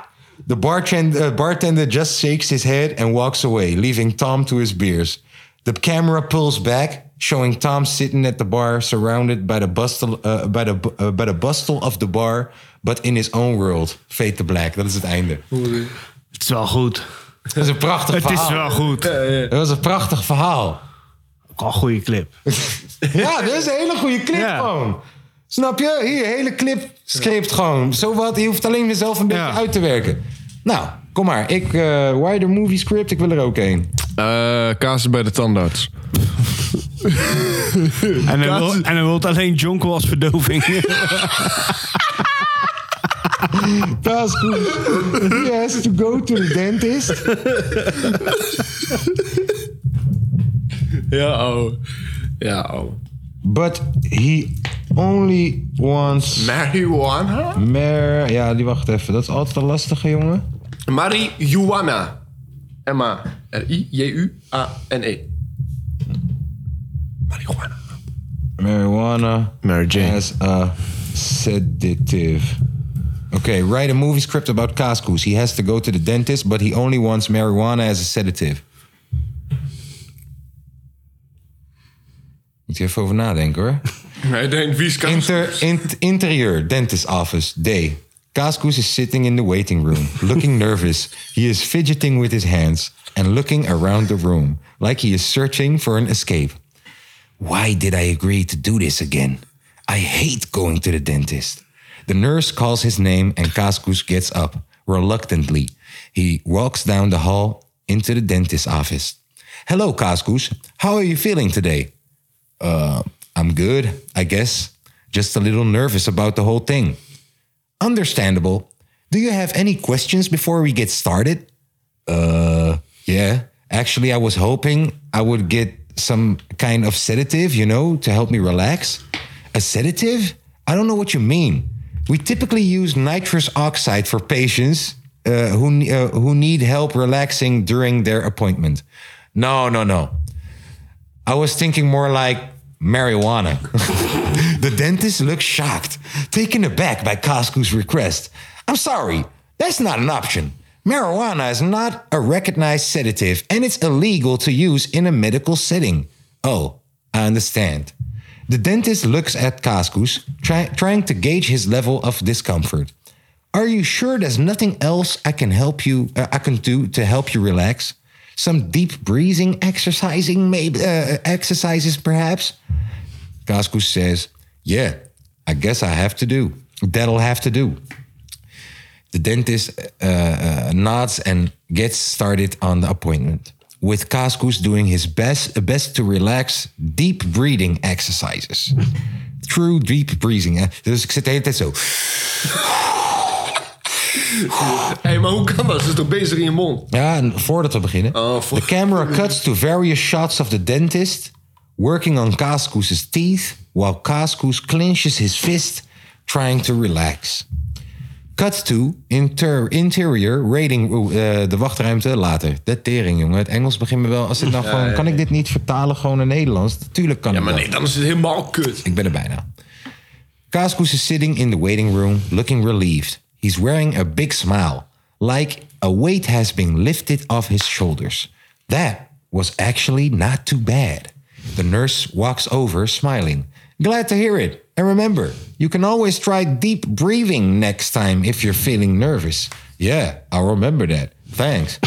The bartender, uh, bartender just shakes his head and walks away, leaving Tom to his beers. The camera pulls back, showing Tom sitting at the bar, surrounded by the bustle, uh, by the, bu- uh, by the bustle of the bar, but in his own world. Fade to black. Dat is het einde. Het is wel goed. Dat is een prachtig Het verhaal. is wel goed. Dat was een prachtig verhaal. Ook al een goede clip. Ja, dit is een hele goede clip Ja. gewoon. Snap je? Hier, hele clip script gewoon. Zowat, je hoeft alleen weer zelf een beetje Ja. uit te werken. Nou, kom maar. Ik, eh wider movie script, ik wil er ook een. Eh, Kaas bij de tandarts. En hij wil, en hij wil alleen jonkel als verdoving. Dat is goed. He has to go to the dentist. Ja, oh. Ja, oh. But he only wants... Marihuana? Mer ja, die wacht even. Dat is altijd een lastige, jongen. Marihuana. M-A-R-I-J-U-A-N-E. Marihuana. Marijuana. Mary Jane. As a uh, sedative. Okay, write a movie script about Cascus. He has to go to the dentist, but he only wants marijuana as a sedative. Moet je even over [laughs] nadenken hoor. Nee, denk, wie is Kaas? Inter, in- interieur, dentist office, day. Cascus is sitting in the waiting room, looking [laughs] nervous. He is fidgeting with his hands and looking around the room, like he is searching for an escape. Why did I agree to do this again? I hate going to the dentist. The nurse calls his name and Cascus gets up. Reluctantly, he walks down the hall into the dentist's office. Hello, Cascus. How are you feeling today? Uh, I'm good, I guess. Just a little nervous about the whole thing. Understandable. Do you have any questions before we get started? Uh, yeah. Actually, I was hoping I would get some kind of sedative, you know, to help me relax. A sedative? I don't know what you mean. We typically use nitrous oxide for patients uh, who ne- uh, who need help relaxing during their appointment. No, no, no. I was thinking more like marijuana. [laughs] the The dentist looked shocked, taken aback by Costco's request. I'm sorry, that's not an option. Marijuana is not a recognized sedative and it's illegal to use in a medical setting. Oh, I understand. The dentist looks at Costco's, try, trying to gauge his level of discomfort. Are you sure there's nothing else I can help you? uh, I can do to help you relax? Some deep breathing, exercising, maybe uh, exercises, perhaps. Cascus says, "Yeah, I guess I have to do. That'll have to do." The dentist uh, uh, nods and gets started on the appointment. With Cascus doing his best best to relax, deep breathing exercises. [laughs] True deep breathing. eh? Hè? Dus ik zit de hele tijd zo. Hé, hey, maar hoe kan dat? Ze is toch bezig in je mond? Ja, en voordat we beginnen. Oh, voor- The camera cuts to various shots of the dentist working on Cascus' teeth while Cascus clenches his fist trying to relax. Cut to inter- interior rating oeh, eh, de wachtruimte later. De tering, jongen. Het Engels begint me wel. Als dit nou gewoon, kan ik dit niet vertalen gewoon in Nederlands? Tuurlijk kan Ja, ik maar dat. nee, dan is het helemaal kut. Ik ben er bijna. Cascus is sitting in the waiting room, looking relieved. He's wearing a big smile, like a weight has been lifted off his shoulders. That was actually not too bad. The nurse walks over, smiling. Glad to hear it. And remember, you can always try deep breathing next time if you're feeling nervous. Yeah, I'll remember that. Thanks.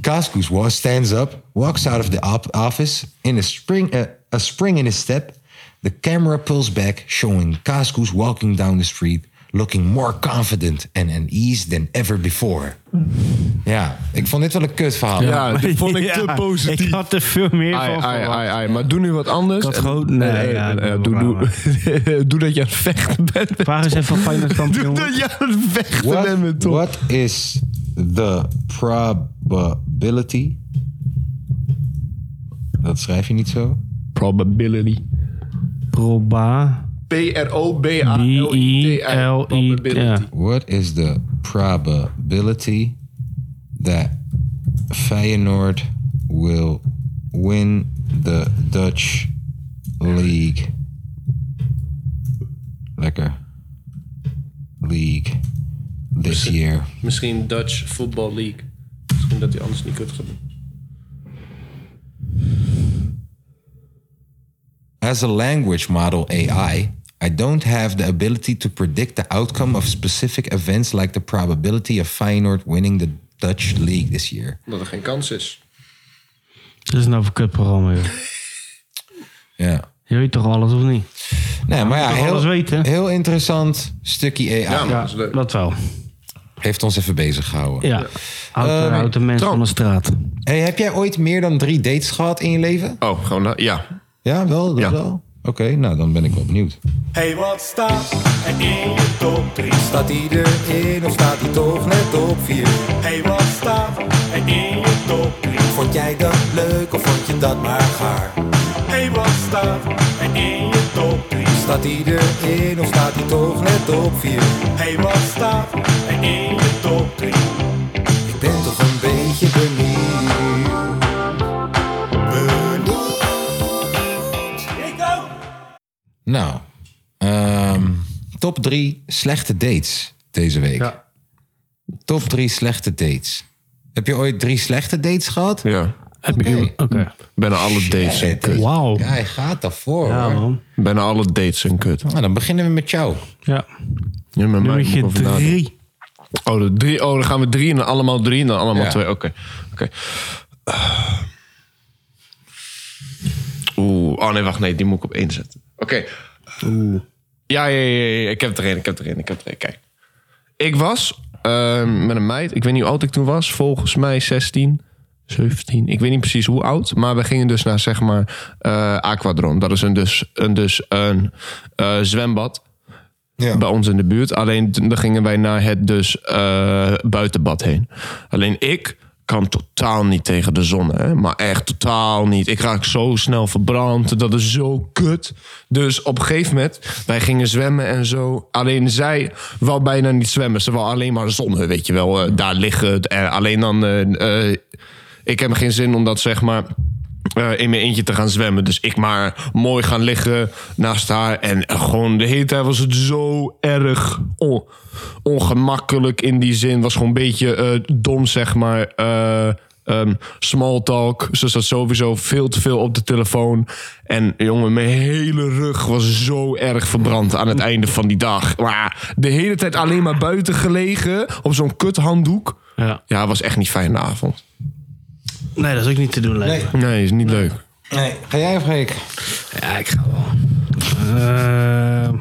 Cascus wa- stands up, walks out of the op- office in a spring, uh, a spring in his step. The camera pulls back, showing Cascus walking down the street, looking more confident and at ease than ever before. Ja, ik vond dit wel een kut verhaal. [laughs] Ja, dit vond ik te Ja, positief. Ik had er veel meer Ai, van ai, verwacht. ai, ai. Maar doe nu wat anders. had gewoon- Nee, nee, eh, ja, eh, doe doe, doe, [laughs] doe dat je aan het vechten bent. met- Vraag eens even of [laughs] Feyenoord Doe kampioen dat wordt. je aan het vechten bent met What, Tom. what is the probability? Dat schrijf je niet zo. Probability. Proba. P-R-O-B-A-L-I-T-I. B-I-L-I, Probability. What is the probability that Feyenoord will win the Dutch League? Lekker. League this year. Misschien Dutch Football League. Misschien dat hij anders niet kunt gaat doen. As a language model AI, I don't have the ability to predict the outcome of specific events like the probability of Feyenoord winning the Dutch league this year. Omdat er geen kans is. Dat is nou voor kutprogramma, joh. Ja. Je weet toch alles, of niet? Nee, maar ja, toch alles heel, weten? heel interessant stukje AI. Ja, maar Ja, dat is leuk. dat wel. Heeft ons even bezig gehouden. Ja. Houd, houd de mensen van de straat. Hey, heb jij ooit meer dan drie dates gehad in je leven? Oh, gewoon nou, ja. Ja, wel? Dat Ja. wel? Oké, nou dan ben ik wel benieuwd. Hey, wat staat er in je top 3? Staat hij erin of staat hij toch net op vier? Hey, wat staat er in je top 3? Vond jij dat leuk of vond je dat maar gaar? Hey, wat staat er in je top 3? Staat hij erin of staat hij toch net op vier? Hey, wat staat er in je top 3? Ik ben toch een beetje benieuwd. Ik ook! Nou, ehm, top drie slechte dates deze week. Ja. Top drie slechte dates. Heb je ooit drie slechte dates gehad? Ja. Oké. Bijna alle dates zijn kut. Wauw. Ja, hij gaat daarvoor Ja, hoor. man. Bijna alle dates zijn kut. Nou, dan beginnen we met jou. Ja. Ja, met mij moet ik Nummertje over nadenken. drie. Oh, de drie. Oh, dan gaan we drie en dan allemaal drie en dan allemaal Ja. twee. Oké. Oké. Eh. Oeh. Oh nee, wacht. Nee, die moet ik op één zetten. Oké. Ja, ja, ja, ja, ja. Ik heb er één. Ik heb er één. Ik heb er één. Kijk. Ik was ehm, met een meid. Ik weet niet hoe oud ik toen was. Volgens mij 16, 17. Ik weet niet precies hoe oud. Maar we gingen dus naar zeg maar eh Aquadron. Dat is een dus een, dus een eh, zwembad Ja. bij ons in de buurt. Alleen toen- dan gingen wij naar het dus eh, buitenbad heen. Alleen ik kan totaal niet tegen de zon, hè? maar echt totaal niet. Ik raak zo snel verbrand, dat is zo kut. Dus op een gegeven moment, wij gingen zwemmen en zo. Alleen zij wou bijna niet zwemmen, ze wou alleen maar zonnen, weet je wel. eh, daar liggen, Eh, alleen dan... eh, eh, ik heb geen zin om dat zeg maar eh, in mijn eentje te gaan zwemmen. Dus ik maar mooi gaan liggen naast haar. En eh, gewoon de hele tijd was het zo erg on- ongemakkelijk in die zin. Was gewoon een beetje eh, dom, zeg maar. Eh, Ehm small talk. Ze zat sowieso veel te veel op de telefoon. En jongen, mijn hele rug was zo erg verbrand aan het einde van die dag. Maar de hele tijd alleen maar buiten gelegen op zo'n kuthanddoek. Ja. Ja, was echt niet fijne avond. Nee, dat is ook niet te doen, lijkt me. Nee, is niet leuk. Nee, ga jij of ga ik? Ja, ik ga wel. Ehm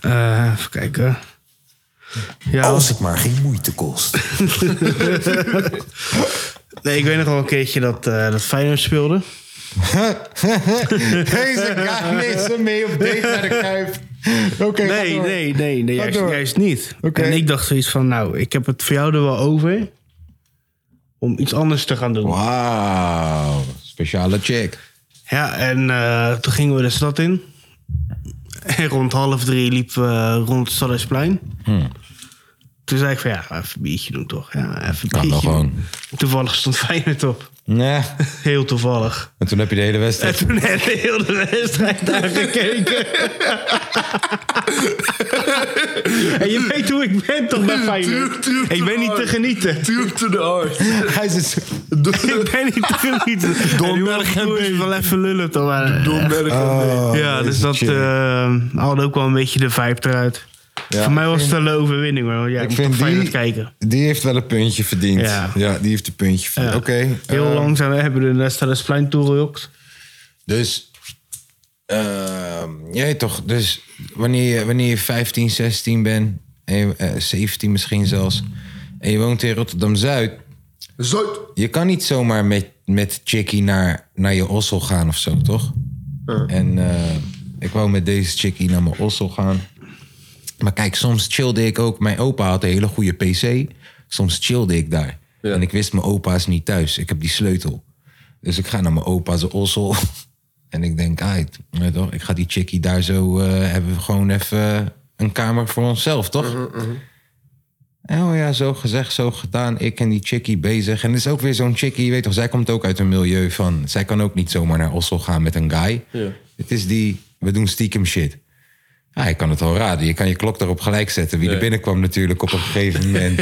eh, even kijken. Ja, Als het maar geen moeite kost. [laughs] nee, ik weet nog wel een keertje dat, eh dat Feyenoord [laughs] speelde. Deze guy neemt ze mee op date naar de Kuip. Oké, ga Nee, door. nee, nee, nee juist, door. juist niet. Oké. En ik dacht zoiets van, nou, ik heb het voor jou er wel over om iets anders te gaan doen. Wauw, speciale check. Ja, en eh, toen gingen we de stad in. En rond half drie liepen we rond het Stadhuisplein. Toen zei ik van, ja, even een biertje doen toch. Ja, even een Nou, biertje nou gewoon. doen. Toevallig stond Feyenoord op. Nee, Heel toevallig. en toen heb je de hele En [laughs] wedstrijd. toen heb ik heel de wedstrijd daar gekeken. en je weet hoe ik ben toch bij Feyenoord. Ik ben niet te genieten. Duwte de hard. Hij is zo- Ik ben niet te genieten. Domberg en Been. wel even lullen toch. maar- Oh, ja, dus dat eh haalde ook wel een beetje de vibe eruit. Ja. Voor mij was het een overwinning hoor. want Ja, ik Ik moet toch vind Feyenoord die, kijken. die heeft wel een puntje verdiend. Ja. Ja, die heeft een puntje verdiend. Ja. Oké. Heel eh, langzaam hebben we de Nestadesplein toegejokt. Dus, ehm, jij toch, dus wanneer je, wanneer je 15, 16 bent, en je- eh, 17 misschien zelfs, en je woont in Rotterdam-Zuid, Zuid. je kan niet zomaar met, met chickie naar, naar je ossel gaan of zo, toch? En eh, ik wou met deze chickie naar mijn ossel gaan. Maar kijk, soms chillde ik ook. Mijn opa had een hele goede PC. Soms chillde ik daar. En ik wist, mijn opa is niet thuis. Ik heb die sleutel. Dus ik ga naar mijn opa's ossel. [laughs] En ik denk, uit, weet je toch? ik ga die chickie daar zo... eh, hebben we gewoon even een kamer voor onszelf, toch? En Oh ja, zo gezegd, zo gedaan. Ik en die chickie bezig. En het is ook weer zo'n chickie, je weet toch, zij komt ook uit een milieu van... Zij kan ook niet zomaar naar Oslo gaan met een guy. Het is die, we doen stiekem shit. Ja, je kan het al raden. Je kan je klok erop gelijk zetten. Wie er binnenkwam natuurlijk op een gegeven moment.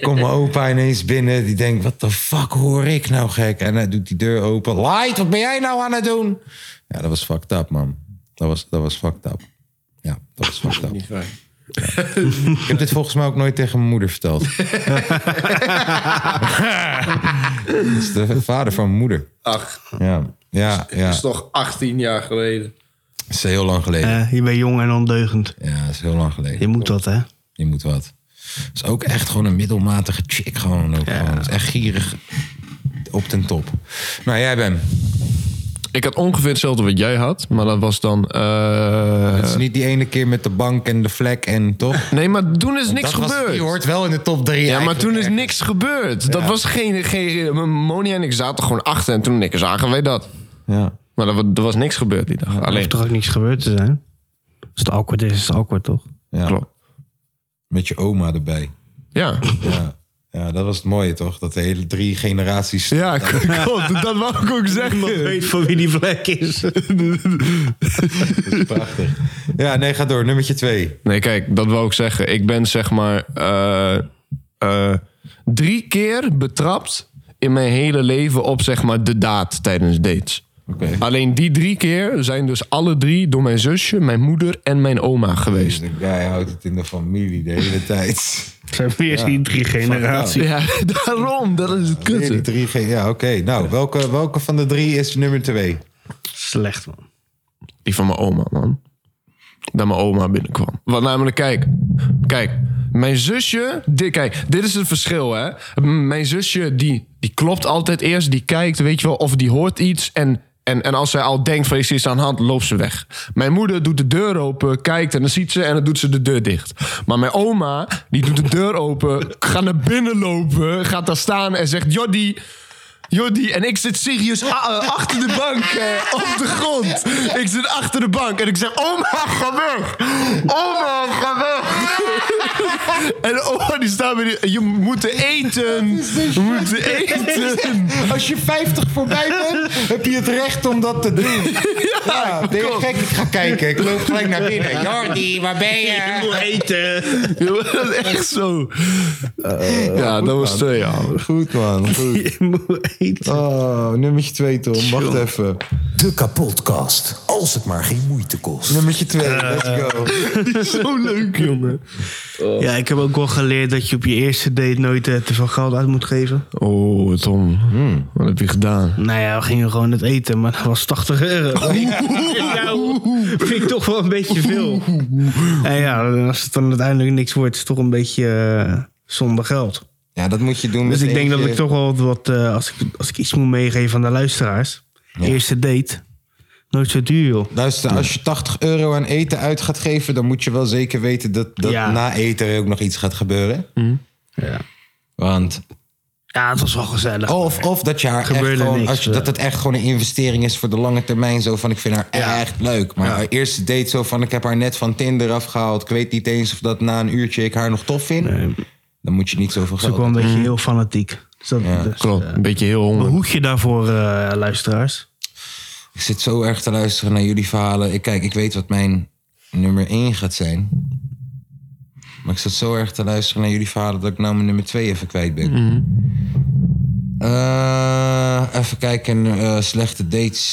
Komt mijn opa ineens binnen. Die denkt, wat de fuck hoor ik nou gek? En hij doet die deur open. Light, wat ben jij nou aan het doen? Ja, dat was fucked up, man. Dat was, dat was fucked up. Ja, dat was fucked up. Ik heb dit volgens mij ook nooit tegen mijn moeder verteld. dat is de vader van mijn moeder. Ach, Ja, ja, ja. Dat nog 18 jaar geleden. is heel lang geleden. Eh, je bent jong en ondeugend. Ja, dat is heel Je lang geleden. moet dat hè. Je moet wat. Dat is ook echt gewoon een middelmatige chick. Gewoon ook gewoon. Dat is echt gierig op ten top. Nou, jij bent. Ik had ongeveer hetzelfde wat jij had, maar dat was dan. eh, Het is niet die ene keer met de bank en de vlek en toch? Nee, maar toen is niks [laughs] Oh, Dat was- gebeurd. Die hoort wel in de top drie. Ja, maar toen is eigenlijk. niks gebeurd. Dat was geen, geen... Monia en ik zaten gewoon achter en toen en ik zagen wij dat. Ja. Maar er, wa- er was niks gebeurd die dag. Er Alleen, hoeft toch ook niks gebeurd te zijn. Als het awkward is, is het awkward toch? Ja. klopt. Met je oma erbij. Ja, Ja. ja, dat was het mooie toch? Dat de hele drie [laughs] generaties. ja klopt. Dat wou ik ook Ik zeggen. weet van wie die vlek is. Prachtig. Ja, nee, ga door. Nummertje twee. Nee, kijk, dat wou ik zeggen. Ik ben zeg maar eh, eh, drie keer betrapt in mijn hele leven op zeg maar de daad tijdens dates. Oké. Alleen die drie keer zijn dus alle drie door mijn zusje, mijn moeder en mijn oma geweest. De guy houdt het in de familie de hele [laughs] tijd. Het zijn weer die drie generaties. Ja, [laughs] daarom. Dat is het Nee, die kutte. drie geen. Ja, oké. Nou, welke, welke van de drie is nummer twee? Slecht man. Die van mijn oma, man. Dat mijn oma binnenkwam. Want namelijk, kijk. Kijk, mijn zusje... Dit, kijk, dit is het verschil, hè. M- Mijn zusje, die, die klopt altijd eerst. Die kijkt, weet je wel, of die hoort iets. En, en, en als zij al denkt van, er is iets aan de hand, loopt ze weg. Mijn moeder doet de deur open, kijkt en dan ziet ze... en dan doet ze de deur dicht. Maar mijn oma, [laughs] die doet de deur open... gaat naar binnen lopen, gaat daar staan en zegt... Jodie, Jordi en ik zit serieus a- eh, achter de bank eh, op de grond. Ik zit achter de bank en ik zeg, oma, ga weg. Oma, ga weg. [laughs] En oma die staat bij de, je moet eten. We moeten eten. [laughs] Als je 50 voorbij bent, heb je het recht om dat te [laughs] doen. Ja, ben je gek? Ik ga kijken. Ik loop gelijk naar binnen. Jordi, waar ben Ik je? wil eten. [laughs] Ja, maar dat is echt zo. ja, dat was twee jaar. Goed, man. Goed. Ik moet eten. Oh, nummertje 2, Tom. Wacht even. De kapotkast. Als het maar geen moeite kost. Nummertje 2, Eh. let's go. [laughs] Zo leuk, jongen. Ja, ik heb ook wel geleerd dat je op je eerste date nooit eh, te veel geld uit moet geven. Oh, Tom. Wat heb je gedaan? Nou ja, we gingen gewoon het eten, maar dat was 80 euro. Nou, vind ik toch wel een beetje veel. En ja, als het dan uiteindelijk niks wordt, is het toch een beetje eh, zonder geld. Ja, dat moet je doen. Dus met ik denk dat eentje. ik toch wel wat, eh, als, ik, als ik iets moet meegeven aan de luisteraars. Eerste date, nooit zo duur joh. Luister, als je 80 euro aan eten uit gaat geven, dan moet je wel zeker weten dat, dat Ja. Hm. na eten er ook nog iets gaat gebeuren. Ja. Want Ja, het was wel gezellig. Of, of dat je haar echt Gebeurde gewoon, niks, eh. als je, ja. dat het echt gewoon een investering is voor de lange termijn. Zo van, ik vind haar echt leuk. Maar haar eerste date zo van, ik heb haar net van Tinder afgehaald. Ik weet niet eens of dat na een uurtje ik haar nog tof vind. Dan moet je niet zoveel Dat is geld ook wel een beetje heel fanatiek. Dus dat, dus, Klopt, een beetje heel een honger. hoekje daarvoor, eh, luisteraars. Ik zit zo erg te luisteren naar jullie verhalen. Ik, kijk, ik weet wat mijn nummer 1 gaat zijn. Maar ik zat zo erg te luisteren naar jullie verhalen dat ik nou mijn nummer 2 even kwijt ben. Eh, even kijken, eh, slechte dates.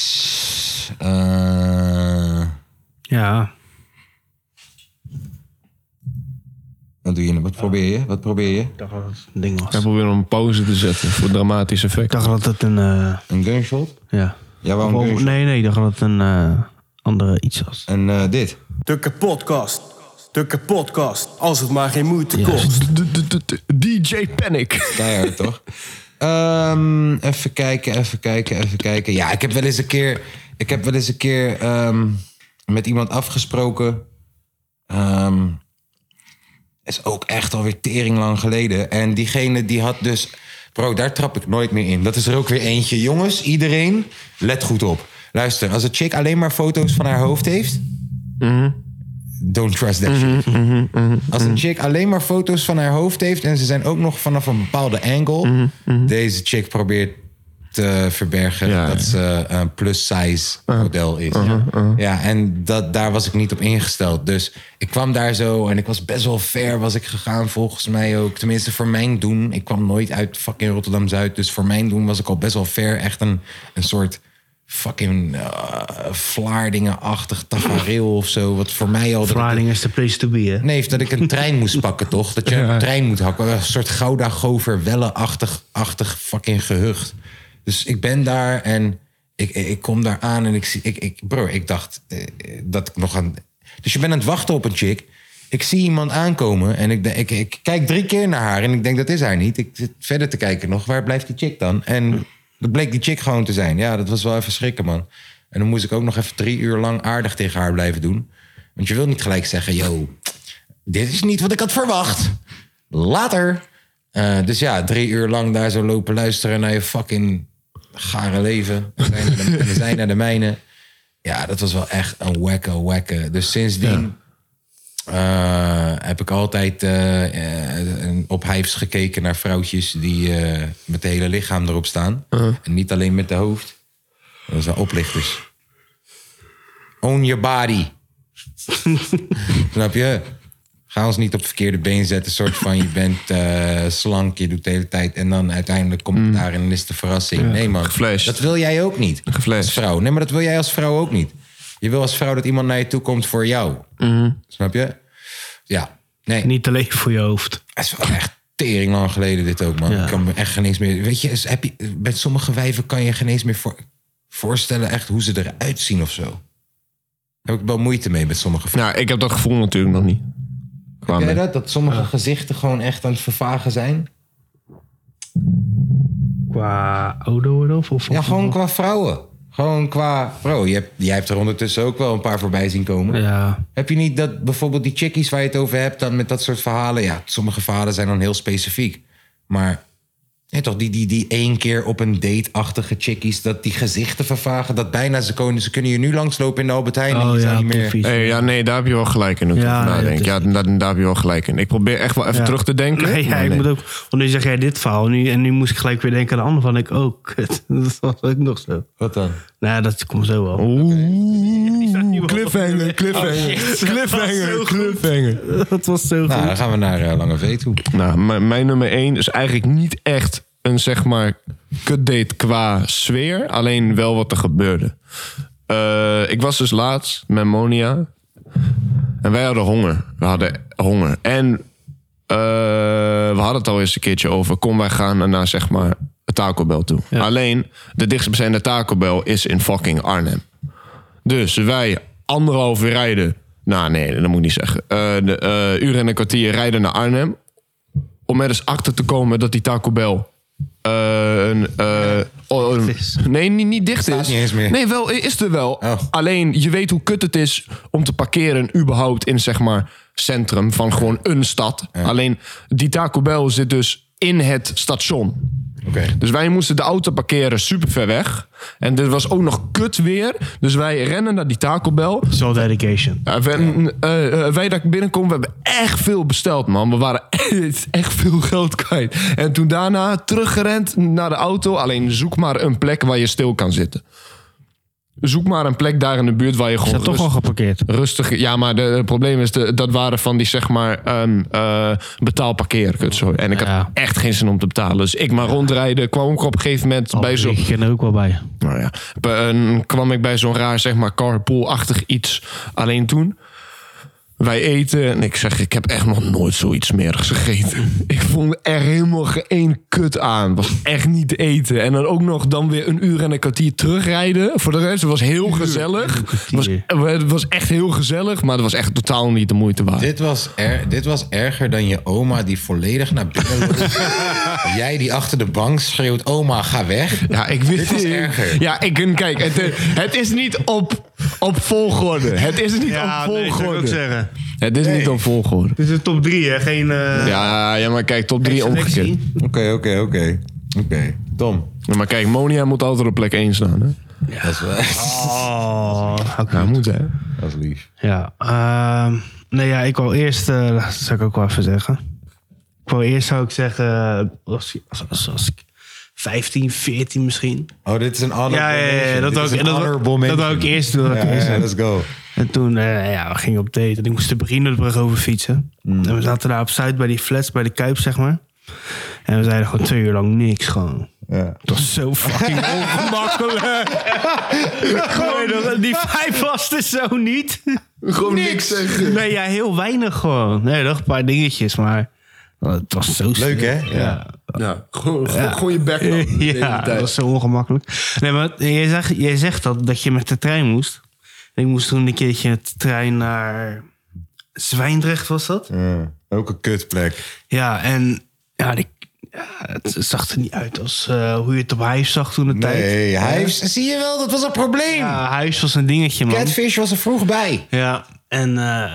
Eh, Ja, wat doe je nou? Wat probeer je? Wat probeer je? ik dacht dat het een ding was. Ik probeer om een pauze te zetten voor dramatisch Ik effect. dacht dat het een. eh, Een gunshot? ja. Ja, waarom Of- gunshot? nee, nee, ik dacht dat het een eh, andere iets was. En eh, dit. De kapotkast. De kapotkast. Als het maar geen moeite kost. DJ Panic. Keihard, toch? Ehm, even kijken, even kijken, even kijken. Ja, ik heb wel eens een keer, ik heb wel eens een keer ehm, met iemand afgesproken. Ehm, is ook echt alweer tering lang geleden. En diegene die had dus... Bro, daar trap ik nooit meer in. Dat is er ook weer eentje. Jongens, iedereen, let goed op. Luister, als een chick alleen maar foto's van haar hoofd heeft... Don't trust that Mhm, shit. Als een chick alleen maar foto's van haar hoofd heeft en ze zijn ook nog vanaf een bepaalde angle. Mhm, Deze chick probeert te verbergen Ja, dat ja. Uh-huh. ze een plus size model is. Ja, en dat, daar was ik niet op ingesteld. Dus ik kwam daar zo en ik was best wel ver was ik gegaan volgens mij ook. Tenminste voor mijn doen. Ik kwam nooit uit fucking Rotterdam-Zuid. Dus voor mijn doen was ik al best wel ver. Echt een, een soort fucking eh, Vlaardingen-achtig tafereel of zo. Wat voor mij al... dat ik- Vlaardingen is the place to be, hè? Nee, dat ik een trein moest pakken, toch? Dat je een trein moet hakken. Een soort gouda gover achtig achtig fucking gehucht. Dus ik ben daar en ik, ik ik kom daar aan en ik zie... Ik, ik, bro, ik dacht eh, eh, dat ik nog aan... Dus je bent aan het wachten op een chick. Ik zie iemand aankomen en ik, de- ik, ik kijk drie keer naar haar... en ik denk, dat is haar niet. Ik zit verder te kijken nog. Waar blijft die chick dan? En dat bleek die chick gewoon te zijn. Ja, dat was wel even schrikken, man. En dan moest ik ook nog even drie uur lang aardig tegen haar blijven doen. Want je wilt niet gelijk zeggen, yo, dit is niet wat ik had verwacht. Later. Eh, dus ja, drie uur lang daar zo lopen luisteren naar je fucking gare leven. We zijn naar de, we zijn naar de mijne. Ja, dat was wel echt een wekke, wekke. Dus sindsdien eh, heb ik altijd eh, eh, op hijfs gekeken naar vrouwtjes die eh, met het hele lichaam erop staan. Uh-huh. En niet alleen met de hoofd. Dat zijn oplichters. Own your [laughs] body. Snap je? Ga ons niet op verkeerde been zetten. Soort van je bent eh, slank, je doet de hele tijd. En dan uiteindelijk komt het daar en dan is de verrassing. nee man, Mm. geflasht. dat wil jij ook niet. Geflasht. Als vrouw. Nee, maar dat wil jij als vrouw ook niet. Je wil als vrouw dat iemand naar je toe komt voor jou. Mhm. Snap je? Ja. Nee, Niet alleen voor je hoofd. het is wel echt tering lang geleden dit ook, man. Ja. Ik kan me echt geen eens meer... Weet je, is- heb je, met sommige wijven kan je geen eens meer voor, voorstellen... echt hoe ze eruit zien of zo. Daar heb ik wel moeite mee met sommige vrouwen. Nou, ik heb dat gevoel natuurlijk nog niet. Qua Ken mij. je dat? Dat sommige gezichten gewoon echt aan het vervagen zijn? Qua ouder worden of? of Ja, gewoon qua vrouwen. Gewoon qua... Bro, je hebt, jij hebt er ondertussen ook wel een paar voorbij zien komen. Ja. Heb je niet dat bijvoorbeeld die chickies waar je het over hebt... dan met dat soort verhalen... Ja, sommige verhalen zijn dan heel specifiek. Maar Ja, toch, die, die, die één keer op een date-achtige chickies, dat die gezichten vervagen, dat bijna ze kunnen, ze kunnen hier nu langslopen in de Albert Heijn. en die zijn niet meer. typisch. Hey, Oh, Eh, ja, nee, daar heb je wel gelijk in. hoe ik Ja, erover nee, nadenk. dat Ja, daar, daar heb je wel gelijk in. Ik probeer echt wel even Ja. terug te denken. Nee, ja, Maar ik nee. moet ook. Want nu zeg jij dit verhaal. Nu, en nu moest ik gelijk weer denken aan de ander. Van ik ook. kut, [laughs] dat was ook nog zo. Wat dan? Nou, dat komt zo wel. [laughs] Oeh, wel. cliffhanger, Oh, cliffhanger, cliffhanger, cliffhanger. Dat was zo Nou, goed. dan gaan we naar eh, Lange V toe. Nou, mijn, mijn nummer 1 is eigenlijk niet echt een zeg maar kutdate qua sfeer, alleen wel wat er gebeurde. Eh, ik was dus laatst met Monia en wij hadden honger. We hadden honger. En eh, we hadden het al eens een keertje over. Kom, wij gaan naar zeg maar een Taco Bell toe. Alleen de dichtstbijzijnde Taco Bell is in fucking Arnhem. Dus wij anderhalf uur rijden. Nou, nee, dat moet ik niet zeggen. Eh de, eh, uur en een kwartier rijden naar Arnhem. Om er dus achter te komen dat die Taco Bell. eh, een, eh, oh, een- is. nee, niet, niet dicht Staat is. niet eens meer. Nee, wel, is er wel. Oh. Alleen je weet hoe kut het is om te parkeren, überhaupt in zeg maar centrum van gewoon een stad. Alleen die Taco Bell zit dus in het station. Oké. Dus wij moesten de auto parkeren super ver weg. En dit was ook nog kut weer. Dus wij rennen naar die Taco Bell. Zo dedication. Ja, we- eh, eh, wij daar binnenkomen, we hebben echt veel besteld, man. We waren echt, echt veel geld kwijt. En toen daarna teruggerend naar de auto. Alleen zoek maar een plek waar je stil kan zitten. Zoek maar een plek daar in de buurt waar je Is gewoon dat toch al rust- geparkeerd? rustig... Ja, maar de- het probleem is, de, dat waren van die zeg maar ehm eh betaalparkeer. Zo. En ik had Ja. echt geen zin om te betalen. Dus ik maar rondrijden, kwam ik op een gegeven moment bij zo'n... Ik ken er ook wel bij. Nou ja, be- en kwam ik bij zo'n raar, zeg maar, carpool-achtig iets. Alleen toen, wij eten en ik zeg, ik heb echt nog nooit zoiets meer gegeten. [laughs] Ik vond er helemaal geen kut aan. Was echt niet te eten. En dan ook nog dan weer een uur en een kwartier terugrijden. Voor de rest, het was heel gezellig. Het was, het was echt heel gezellig, maar het was echt totaal niet de moeite waard. Dit was, er, dit was erger dan je oma die volledig naar [laughs] binnen loopt. Jij die achter de bank schreeuwt, oma, ga weg. Ja, ik wist Dit was erger. Ja, ik en kijk. Het, eh, het is niet op, op volgorde. Het is niet op volgorde. zeggen. het is niet op volgorde. Dit is de top 3, hè? Geen. eh, Ja, ja, maar kijk, top 3 omgekeerd. Oké, oké, oké. Oké, Tom. Ja, maar kijk, Monia moet altijd op plek 1 staan. Hè? Dat is, wel- [laughs] Oh, Ja, moet hè. [laughs] dat is lief. Ja, ehm, nee, ja, ik wou eerst, eh, dat zou ik ook wel even zeggen. Ik wou eerst, zou ik zeggen, eh, als, als, als, als ik 15, 14 misschien. Oh, dit is een honorable Ja, ja, ja, ja, mention. dat Dit wou is ik, een dat, honorable wou- dat mention. wou ik eerst doen. dat wou ik Ja, eerst ja, doen. let's go. En toen, eh, ja, we gingen op date en ik moest de Brienenbrug over fietsen. En we zaten daar op Zuid bij die flats, bij de Kuip, zeg maar. En we zeiden gewoon twee uur lang niks, gewoon. Ja. Het was zo fucking ongemakkelijk. [laughs] Gewoon, die vijf was er zo niet. Gewoon niks zeggen. Nee, ja, heel weinig gewoon. Nee, nog een paar dingetjes, maar het was zo Leuk, hè? Ja, Ja, gewoon, gewoon je bek. houden de hele [laughs] ja dat tijd. was zo ongemakkelijk. Nee, maar jij zegt, jij zegt dat, dat je met de trein moest. Ik moest toen een keertje met de trein naar Zwijndrecht, was dat? Ja, Ook een kutplek. Ja, en ja, die- ja, het zag er niet uit als eh, hoe je het op huis zag toen de tijd. Nee, hij heeft- zie je wel, dat was een probleem. Ja, huis was een dingetje, man. Catfish was er vroeg bij. Ja, en eh,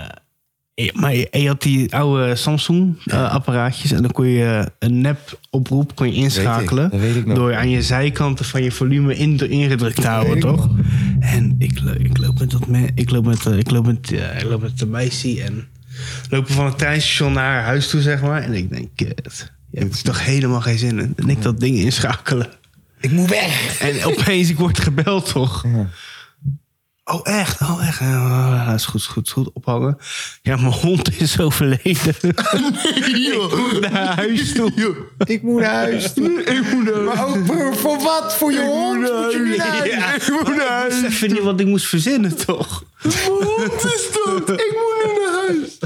je- maar je, je had die oude Samsung-apparaatjes en dan kon je eh, een nep-oproep kon je inschakelen. dat weet ik nog. Door aan je zijkanten van je volume in, ingedrukt te houden, toch? En ik, lo- ik loop met dat me, ik loop met, eh, ik loop met, eh, ik loop met de meisje en lopen van het treinstation naar haar huis toe, zeg maar. En ik denk, kut, je hebt er toch helemaal geen zin in. En ik dat ding inschakelen. Ik moet weg. En opeens, ik word gebeld, toch? Oh, echt? Oh, echt? Ja, dat is goed, is goed, is goed. Ophangen. Ja, mijn hond is [laughs] overleden. Ik moet naar huis toe. Ik moet naar [laughs] huis. Maar ook voor, voor wat? Voor je hond? Moet je nu naar huis? Ja, ik moet naar huis. Ik wist even niet wat ik moest verzinnen, toch? Mijn hond is dood. Ik moet nu naar huis.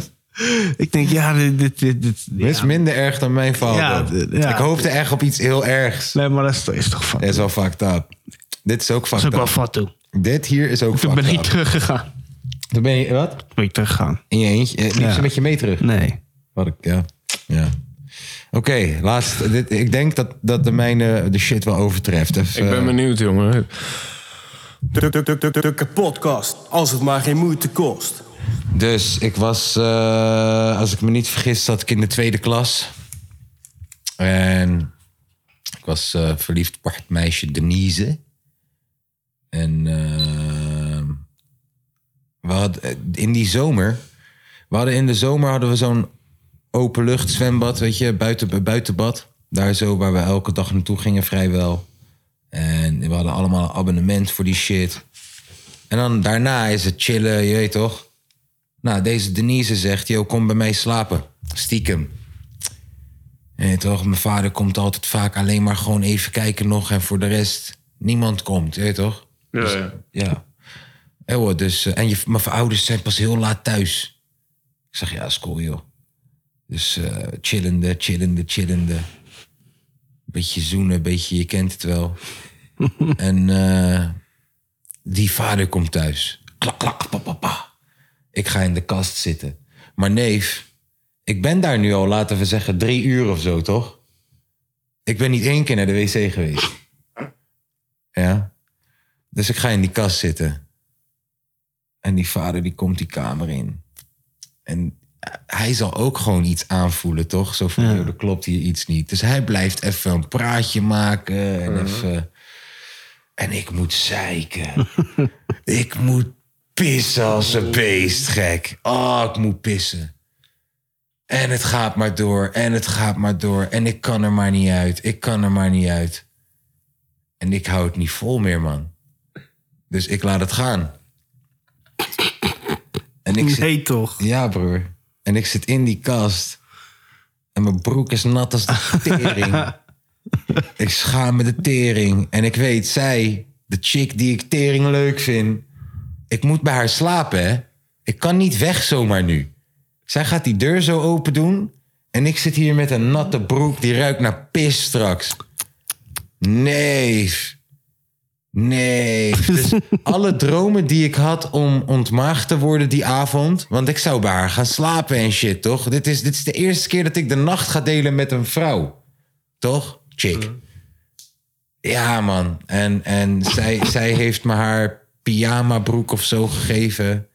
Ik denk, ja, dit... dit, dit, dit ja. Dit is minder erg dan mijn vader. Ja, d- ja. Ik hoopte echt op iets heel ergs. Nee, maar dat is, is toch van. Dit Dat is wel fucked up. Dit is ook is fucked ook wel up. fat toe. Dit hier is ook Toen fucked ben ik up. teruggegaan. Toen ben je, wat? Toen ben ik teruggegaan. In je eentje? Eh, liep Ja. ze met je mee terug? Nee. Wat ik, ja. ja. Oké, laatst. Dit, ik denk dat, dat de mijne de shit wel overtreft. Even, Ik ben benieuwd, jongen. De, de, de, de, de, de podcast, als het maar geen moeite kost. Dus ik was, eh, als ik me niet vergis, zat ik in de tweede klas. En Ik was eh, verliefd op het meisje Denise. En ehm, we hadden, eh, in die zomer, we hadden in de zomer hadden we zo'n openlucht zwembad, weet je, eh, buiten, buitenbad. Daar zo waar we elke dag naartoe gingen vrijwel. En we hadden allemaal een abonnement voor die shit. En dan daarna is het chillen, je weet toch? Nou, deze Denise zegt, yo, kom bij mij slapen. Stiekem. Je weet toch, mijn vader komt altijd vaak alleen maar gewoon even kijken nog. En voor de rest, niemand komt, je weet toch? Dus, Ja, ja. Ja. En, hoor, dus, eh, en je, mijn ouders zijn pas heel laat thuis. Ik zeg, ja, is cool, joh. Dus eh, chillende, chillende, chillende. Beetje zoenen, beetje, je kent het wel. en eh, die vader komt thuis. Klak, klak, pa, pa, pa. Ik ga in de kast zitten. Maar neef, ik ben daar nu al, laten we zeggen, drie uur of zo, toch? Ik ben niet één keer naar de wc geweest. Ja? Dus ik ga in die kast zitten. En die vader die komt die kamer in. En hij zal ook gewoon iets aanvoelen, toch? Zo van, joh, er klopt hier iets niet. Dus hij blijft even een praatje maken. En, even... en ik moet zeiken. ik moet pissen als een beest, gek. Oh, ik moet pissen. En het gaat maar door, en het gaat maar door. En ik kan er maar niet uit, ik kan er maar niet uit. En ik hou het niet vol meer, man. Dus ik laat het gaan. En ik zit Nee, toch? ja, broer. En ik zit in die kast. En mijn broek is nat als de tering. ik schaam me de tering. En ik weet, zij, de chick die ik tering leuk vind. Ik moet bij haar slapen, hè. Ik kan niet weg zomaar nu. Zij gaat die deur zo open doen. En ik zit hier met een natte broek die ruikt naar pis straks. Nee. [laughs] Nee. Dus alle dromen die ik had om ontmaagd te worden die avond. Want ik zou bij haar gaan slapen en shit, toch? Dit is, dit is de eerste keer dat ik de nacht ga delen met een vrouw. Toch? Chick. Ja, man. En, en [laughs] zij, zij heeft me haar pyjama broek of zo gegeven.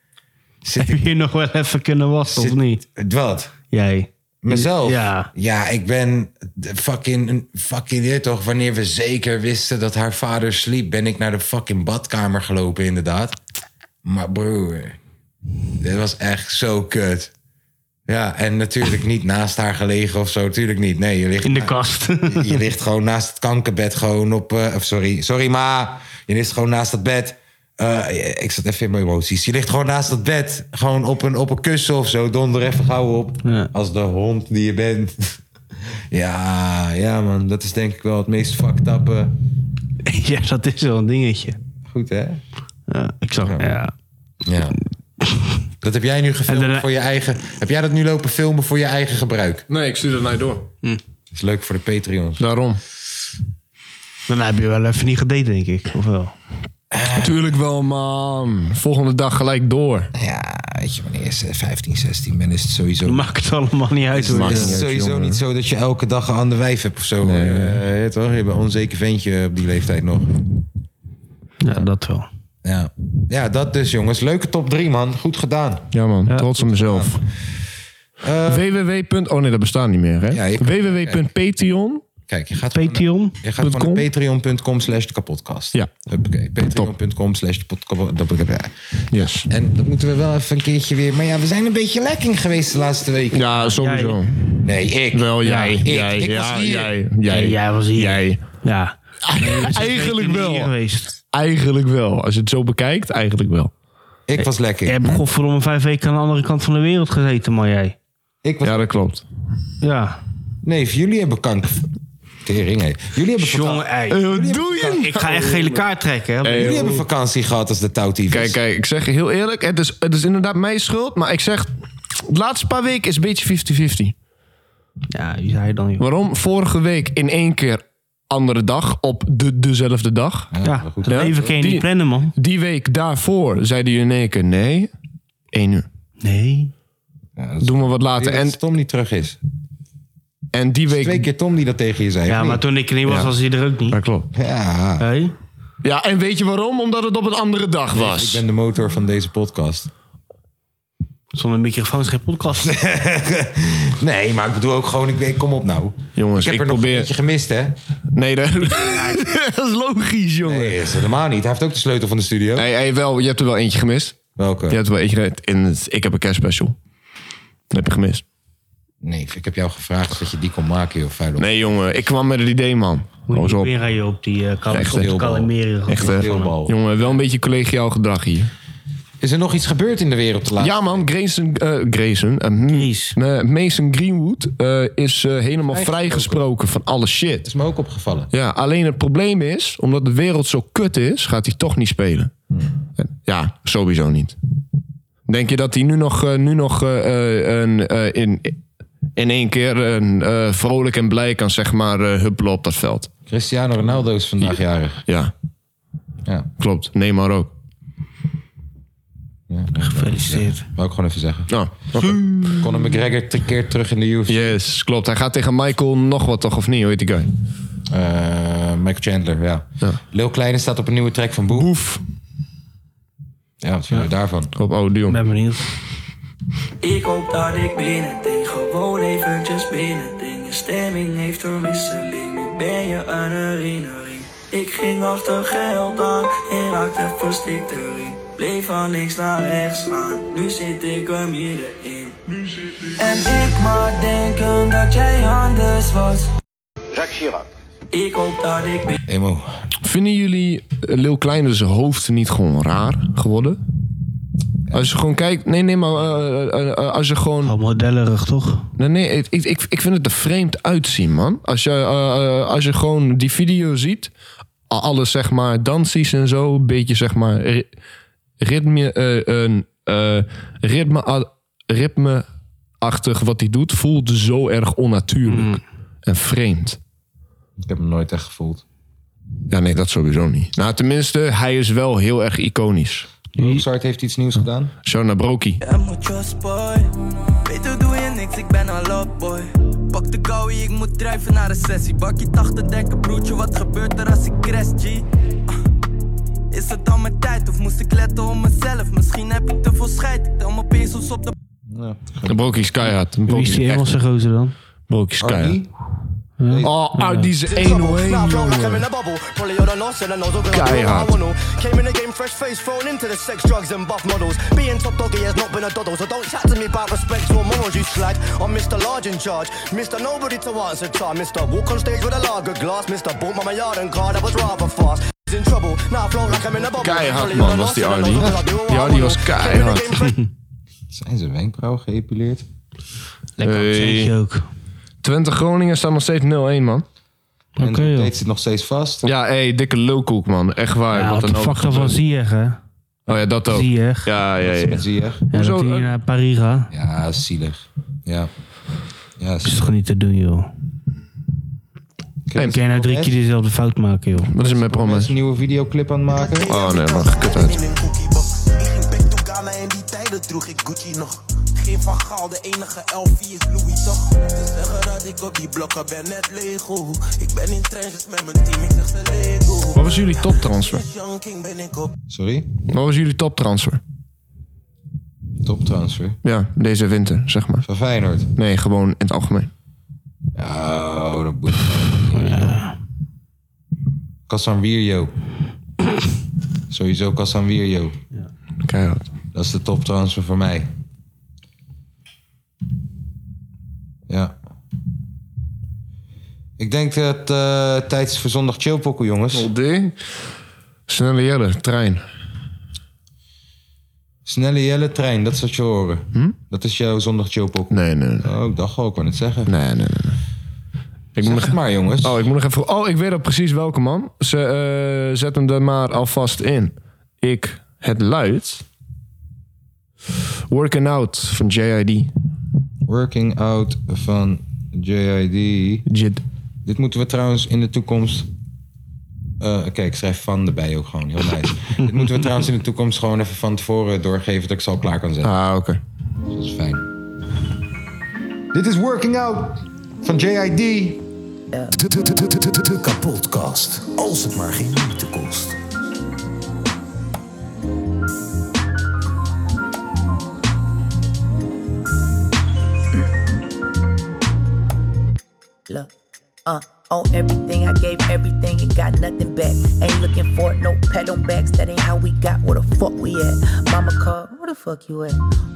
Zit Heb ik, je hier nog wel even kunnen wassen, zit- of niet? Wat? Jij. Mezelf? Ja. Ja, ik ben de fucking, een fucking dit toch. Wanneer we zeker wisten dat haar vader sliep, ben ik naar de fucking badkamer gelopen, inderdaad. Maar broer, dit was echt zo kut. Ja, en natuurlijk niet naast haar gelegen of zo. Natuurlijk niet. Nee, je ligt In de kast. je ligt gewoon naast het kankerbed gewoon op... eh, of sorry, sorry ma. Je ligt gewoon naast dat bed. Eh, ik zat even in mijn emoties. Je ligt gewoon naast dat bed. Gewoon op een, op een kussen of zo. Donder even gauw op. Ja. Als de hond die je bent. [laughs] ja, ja man. Dat is denk ik wel het meest fucked up. eh. [laughs] ja, dat is wel een dingetje. Goed hè? Ja, ik zag. Ja. Ja. Dat heb jij nu gefilmd En daarna- voor je eigen... Heb jij dat nu lopen filmen voor je eigen gebruik? Nee, ik stuur dat naar je door. Dat is leuk voor de Patreons. Daarom. Daarna heb je wel even niet gedate, denk ik. Of wel? [laughs] Natuurlijk wel, man. Volgende dag gelijk door. Ja, weet je, wanneer je 15, 16 bent, is het sowieso... Maakt het allemaal niet uit hoor. Het is uit, sowieso jongen. niet zo dat je elke dag een ander wijf hebt of zo. Eh, je weet toch? Je bent een onzeker ventje op die leeftijd nog. Ja, dat wel. Ja. ja, dat dus jongens. Leuke top 3 man. Goed gedaan. Ja, man. trots op mezelf. www. Oh nee, dat bestaat niet meer, hè? Ja, je- www.patreon. Kijk, je gaat gewoon naar- Petion. je gaat gewoon .com? naar patreon.com slash de kapotkast. Ja. Huppakee. Patreon.com slash de podcast- dat- dat- dat- Yes. En dat moeten we wel even een keertje weer... Maar ja, we zijn een beetje lekking geweest de laatste weken. Ja, sowieso. Nee, ik. Wel jij. ik. jij, Ik ja, was hier. jij, jij. Nee, jij was hier. Jij. Ja. Eigenlijk Hier wel. geweest. Eigenlijk wel. Als je het zo bekijkt, eigenlijk wel. Ik was lekker. Jij hebt godverdomme vijf weken aan de andere kant van de wereld gezeten, man jij. Ik was... Ja, dat klopt. Ja. Nee, jullie hebben kanker. Tering, hé. Jullie hebben Jongen, vakantie. ey. Wat Eh, doe je? Eh, Ik ga echt gele kaart trekken. Hè? Jullie hebben vakantie gehad als de touwtief. Kijk, kijk, ik zeg je heel eerlijk, het is, het is inderdaad mijn schuld. Maar ik zeg, de laatste paar weken is een beetje 50-50. Ja, wie zei dan, joh. Waarom? Vorige week in één keer andere dag op de, dezelfde dag. Ja, dat leven kan je Die- niet plannen, man. Die week daarvoor zeiden jullie in één keer, nee, één uur. Nee. Doen we wat later. en En, Tom niet terug is. en die Twee week... keer Tom die dat tegen je zei. Ja, of maar niet? toen ik er niet was, Ja. was hij er ook niet. Dat klopt. Ja, Hé? Ja, en weet je waarom? Omdat het op een andere dag was. ik ben de motor van deze podcast. Zonder microfoon is geen podcast. Nee, maar ik bedoel ook gewoon, ik, ik kom op nou. Jongens, Dus ik heb ik er nog probeer- een beetje gemist, hè? Nee, dat, dat is logisch, jongen. Nee, dat is helemaal niet. Hij heeft ook de sleutel van de studio. Hey, hey, wel, je hebt er wel eentje gemist. Welke? Je hebt er wel eentje gemist. In het, ik heb een kerstspecial. Dat heb je gemist. Nee, ik heb jou gevraagd of dat je die kon maken, joh, vuil op. Nee, jongen, ik kwam met het idee, man. Hou Moet eens je op. weer rijden op die eh Cal- Echt, op de heel bal. Calimero. Echt, hè? Deelbal. Jongen, wel een beetje collegiaal gedrag hier. Is er nog iets gebeurd in de wereld te laten? Ja, man, Grayson, eh, Grayson eh, M- Grace. eh, Mason Greenwood eh, is eh, helemaal vrijgesproken van alle shit. is me ook opgevallen. Ja, alleen het probleem is, omdat de wereld zo kut is, gaat hij toch niet spelen. Ja, sowieso niet. Denk je dat hij nu nog, eh, nu nog eh, eh, een, eh, in, in één keer een, eh, vrolijk en blij kan zeg maar, eh, huppelen op dat veld? Cristiano Ronaldo is vandaag jarig. Ja, Ja, klopt. Neymar ook. ja, ja. Gefeliciteerd. Wou ik gewoon even zeggen. Nou, Conor McGregor drie keer terug in de UFC. yes, klopt. Hij gaat tegen Michael nog wat, toch? Of niet? Hoe heet die guy? Eh, Michael Chandler, ja. Ja. Lil Kleine staat op een nieuwe track van Boef. Boef. Ja, wat vinden we daarvan? Op oude Ik Dion. ben benieuwd. Ik hoop dat ik binnending, gewoon eventjes binnending. Je stemming heeft verwisseling, nu ben je een herinnering. Ik ging achter geld aan en raakte verstikt erin. Bleef van links naar rechts gaan, nu zit ik er middenin. En ik maar denken dat jij anders was. Ik hoop dat ik binnen- Emo. Vinden jullie eh, Lil Kleine zijn hoofd niet gewoon raar geworden? Als je gewoon kijkt... Nee, nee, maar eh, eh, eh, als je gewoon... Al modellerig, toch? Nee, nee ik, ik- ik, ik vind het er vreemd uitzien, man. Als je, eh, eh, als je gewoon die video ziet, a- alle zeg maar dansies en zo, een beetje zeg maar ri- ritme, eh, een, eh, ritme, a- ritmeachtig wat hij doet, voelt zo erg onnatuurlijk en vreemd. Ik heb hem nooit echt gevoeld. Ja, nee, dat sowieso niet. Nou, tenminste, hij is wel heel erg iconisch. Mozart heeft iets nieuws gedaan. Shona Broki. Ik moet trust boy. Beter doe je niks, ik ben een love boy. Pak de kouwie, ik moet drijven naar een sessie. Bakkie 80, denken broertje, wat gebeurt er als ik crash, G? Ah. Is het dan mijn tijd of moest ik letten op mezelf? Misschien heb ik te veel scheid, ik tel mijn pesos op de... Broki is keihard. Wie is die Engelse gozer dan? Broki is keihard. Arnie? Oh, ah, die is 101, jongen. Keihard. Came in the game fresh face, thrown into the sex, drugs, and buff models. Being top doggy has not been a doddle, so don't chat to me about respect or morals, you slag. I'm Mr. Large in charge, Mr. Nobody to answer to, Mr. Walk on stage with a lager glass, Mr. Bought my yard and car, that was rather fast. In trouble, now I flow like I'm in a bubble. Keihard, man, was die Arnie. Die Arnie was keihard. [laughs] Zijn zijn wenkbrauw geëpileerd? Lekker Hey. accentje ook. Twente Groningen staat nog steeds 0-1, man. Oké, en joh. het zit nog steeds vast. Ja, hé, dikke lulkoek, man. Echt waar. Ja, wat wat een de fuck hoop. dan van Ziyech, hè? Oh ja, dat ook. Ziyech. Ja, ja, ja. Dat zie je. Ja, Hoezo? eh? dat hij naar Parijs gaat. Ja, zielig. Ja. Ja, Dat is zielig. toch niet te doen, joh. Hey, Kun jij nou drie Echt? keer dezelfde fout maken, joh? Wat is er met Mensen Promes? een nieuwe videoclip aan het maken. Oh nee, man, gekut uit. Ik ging back to Ghana en die tijden droeg ik Gucci nog. Geen van Gaal, de enige LV is Louis toch? Ze zeggen dat ik op die blokken ben net Lego. Ik ben in trenches met mijn team, ik zeg ze Lego. Wat was jullie toptransfer? Als Young King ben ik op Sorry? Wat was jullie toptransfer? Toptransfer. Ja, deze winter, zeg maar. Van Feyenoord. Nee, gewoon in het algemeen. Oh, dat boeit me. Kassan Wierjo. Sowieso Kassan Wierjo. Keihard. Dat is de toptransfer voor mij. Ja. Ik denk dat eh tijd is voor zondag chillpokken, jongens. Volde. Snelle Jelle, trein. Snelle jelle trein, dat is wat je horen. Dat is jouw zondag chillpokken. Nee, Hm? nee, nee. Oh, ik dacht al, ik kan het zeggen. Nee, nee, nee. nee. Ik moet Zeg nog... het maar, jongens. Oh, ik moet nog even... Oh, ik weet al precies welke, man. Ze, eh, zet hem er maar alvast in. Ik, het luid... Working Out van JID. Working out van JID. Jid. Dit moeten we trouwens in de toekomst. eh, Kijk, ik schrijf van erbij ook gewoon. Heel [laughs] nice. Dit moeten we trouwens in de toekomst gewoon even van tevoren doorgeven dat ik ze al klaar kan zetten. Ah, oké. Dat is fijn. Dit is Working Out van JID. De podcast. Als het maar geen moeite kost. Uh, on everything, I gave everything and got nothing back. Ain't looking for it, no pedal backs. That ain't how we got. Where the fuck we at? Mama called, where the fuck you at?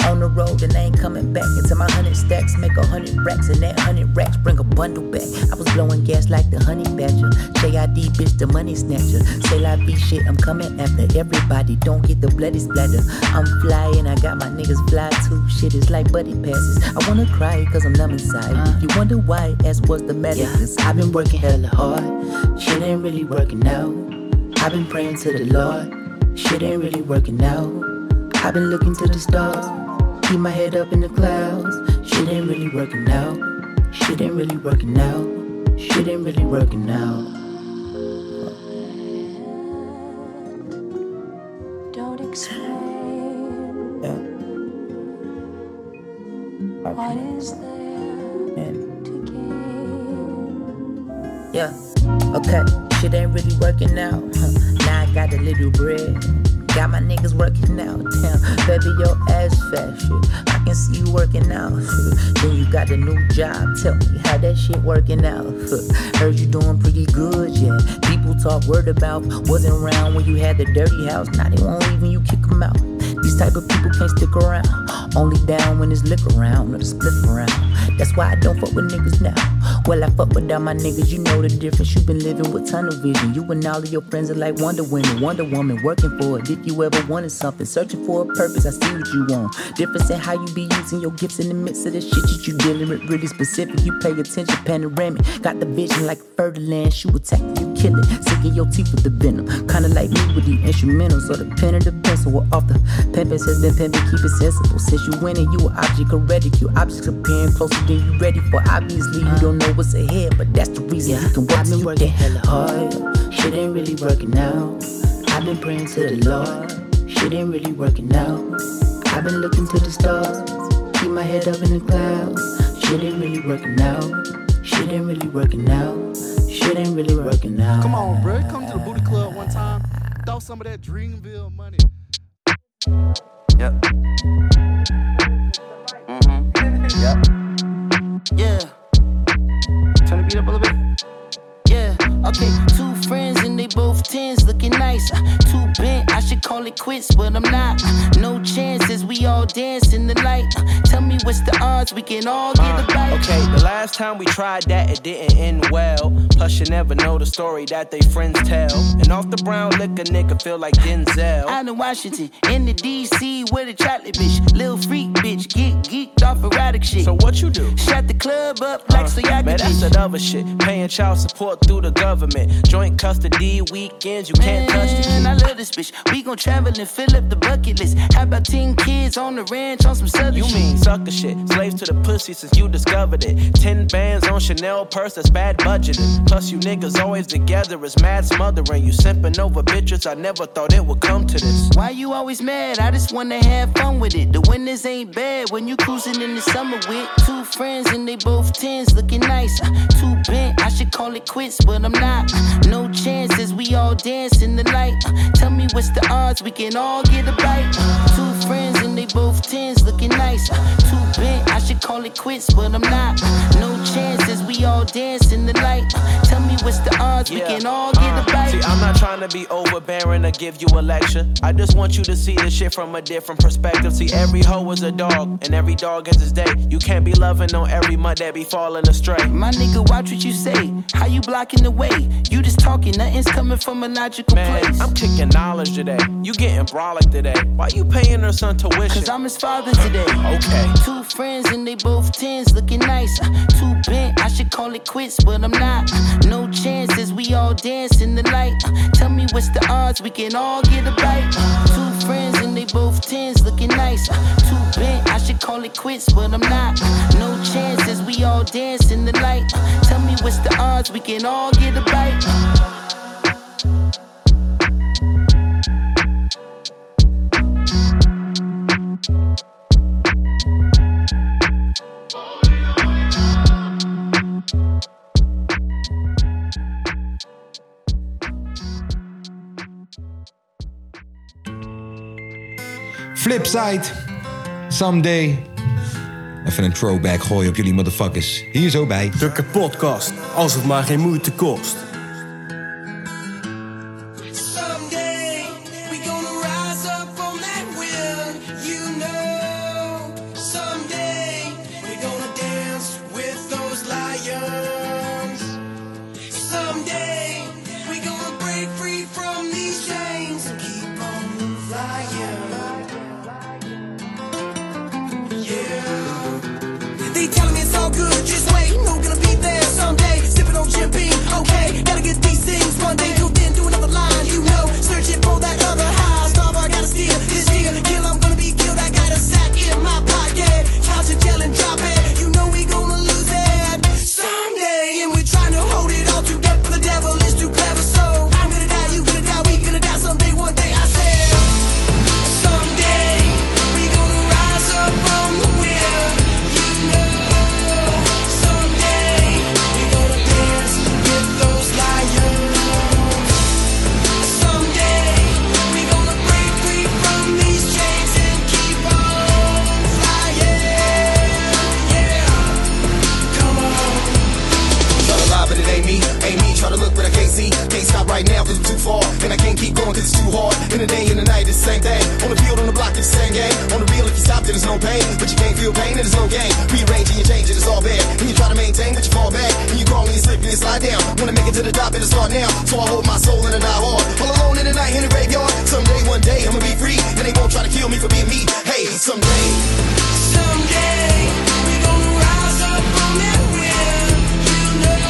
On the road and I ain't coming back. Into my hundred stacks, make a hundred racks, and that hundred racks bring a bundle back. I was blowing gas like the honey badger. JID, bitch, the money snatcher. Say la vie shit, I'm coming after everybody. Don't get the bloody splatter. I'm fly and I got my niggas fly too. Shit is like buddy passes. I wanna cry cause I'm numb inside. You wonder why, ask what's the matter. Cause Uh. I've been working hella hard. Shit ain't really working out. I've been praying to the Lord. Shit ain't really working out. I've been looking to the stars. Keep my head up in the clouds. Shit ain't really working out. Shit ain't really working out. Shit ain't really working out. Don't explain what is there to Yeah. Okay. Shit ain't really working out. Huh. Now I got a little bread. Got my niggas working out. Damn, baby, your ass fat shit. I can see you working out. Then you got a new job. Tell me how that shit working out. Heard you doing pretty good, yeah. People talk word about wasn't around when you had the dirty house. Now they won't leave when you kick 'em out. These type of people can't stick around. Only down when it's lick around or the spliff around. That's why I don't fuck with niggas now. Well, I fuck with all my niggas. You know the difference. You been living with tunnel vision. You and all of your friends are like Wonder Women, Wonder Woman, working for it. If you ever wanted something, searching for a purpose, I see what you want. Difference in how you be using your gifts in the midst of the shit that you dealing with. Really specific. You pay attention, panoramic. Got the vision like fertile land. Shoot attack, you kill it. Sinking your teeth with the venom. Kinda like me with the instrumentals or the pen or the pencil or off the pimpin' since been pimping, keep it sensible. Since you winning, you an object of ridicule. Objects appearing closer than you ready for. Obviously, you don't know what's ahead, but that's the reason you can watch me working hella hard. Shit ain't really working out. I've been praying to the Lord. Shit ain't really working out. I've been looking to the stars. Keep my head up in the clouds. Shit ain't really working out. Shit ain't really working out. Shit ain't really working out. Come on, bro. Come to the booty club one time. Throw some of that Dreamville money. Yep. Mm-hmm. Yep. Yeah. Turn the beat up a little bit. Yeah, okay, two friends and they both tens looking nice. Uh, too bent, I should call it quits, but I'm not. Uh, no chances, we all dance in the light. Uh, tell me what's the odds we can all get a bite. Okay, the last time we tried that, it didn't end well. Plus, you never know the story that they friends tell. And off the brown liquor, nigga feel like Denzel. Out in Washington, in the DC with a chocolate bitch. Lil freak bitch, get geeked off erotic shit. So what you do? Shut the club up like so y'all Man, that's that other shit. Paying child support through the government. Joint custody weekends, you can't touch the Man, I love this bitch. We gon' travel and fill up the bucket list. How about 10 kids on the ranch on some southern You shit? mean sucker shit. Slaves to the pussy since you discovered it. Ten bands on Chanel purse, that's bad budgeting. Plus, you niggas always together, it's mad smothering. You simping over bitches, I never thought it would come to this. Why you always mad? I just wanna have fun with it. The winters ain't bad when you cruising in the summer with two friends and they both tens looking nice. Uh, too bent, I should call it quits, but I'm not. Uh, no chances, we all dance in the light. Uh, tell me what's the odds we can all get a bite. Uh, two friends and they both tens looking nice. Uh, too bent, I should call it quits, but I'm not. Uh, no chances, we all dance in the light. Uh, tell me what's the odds we can all get a bite. Uh, See, I'm not trying to be overbearing or give you a lecture. I just want you to see this shit from a different perspective. See, every hoe is a dog, and every dog is his day. You can't be loving on every mud that be falling astray. My nigga, watch what you say. How you blocking the way? You just talking, nothing's coming from a logical Man, place. I'm kicking knowledge today. You getting brolic today. Why you paying her son tuition? Cause I'm his father today. Okay. Two friends and they both tens looking nice. Uh, too bent, I should call it quits, but I'm not. Uh, no chances, we all dance in the light. Uh, tell me what's the odds we can all get a bite. Uh, two friends and they both tens looking nice. Uh, too bent, I should call it quits, but I'm not. Uh, no chances, we all dance in the light. Uh, tell me what's the odds we can all get a bite. Uh, Flipside. Someday. Even een throwback gooien op jullie motherfuckers. Hier zo bij. Drukke podcast, als het maar geen moeite kost. Someday we gonna rise up on that wheel, you know. Someday we gonna dance with those lions. Someday we gonna break free from these chains and keep on flying. Yeah. They telling me it's all good, just wait. No, gonna be there someday. Sipping on Jim Beam, okay. Gotta get these things one day. Till then, do another line, you know. Searching for that other high. Starve, I gotta steal this year. Kill, I'm gonna be killed. I got a sack in my pocket. Couch and tell and drop it. You know we gonna lose it someday. And we're trying to hold it all together. The devil is too clever, so I'm gonna die. You gonna die, we gonna die someday. One day, I said. Someday, we gonna rise up from the wheel. Tryna lie, but it ain't me, ain't me. Tryna look, but I can't see. Can't stop right now, cause it's too far. And I can't keep going, cause it's too hard. In the day, in the night, it's the same thing. On the field, on the block, it's the same game. On the real, if you stop, then there's no pain. But you can't feel pain, and there's no gain. Rearranging your change, it's all bad. And you try to maintain, but you fall back. And you crawl and you slip and you slide down. Wanna make it to the top, and it's hard now. So I hold my soul and I die hard. All alone in the night, in the graveyard. Someday, one day, I'ma be free. And they won't try to kill me for being me. Hey, someday. Someday, we gonna rise up on that wheel.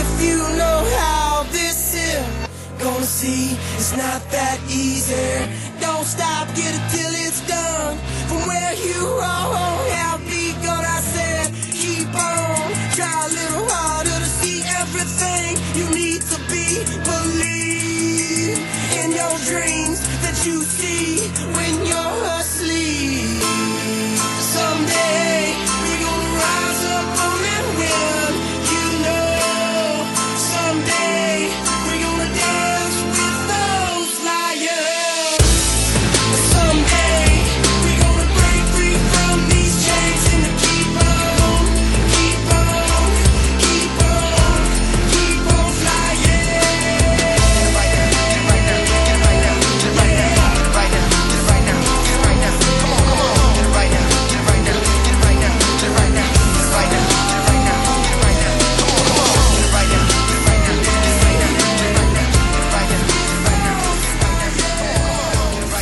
If you know how this here gonna see, it's not that easy. Don't stop, get it till it's done. From where you are, have begun. I said, keep on, try a little harder to see everything you need to be. Believe in your dreams that you see when you're asleep. Someday we gonna rise up on that wind, you know. Someday we gonna dance with those lions. Someday we gonna break free from these chains and keep on, keep on, keep on, keep on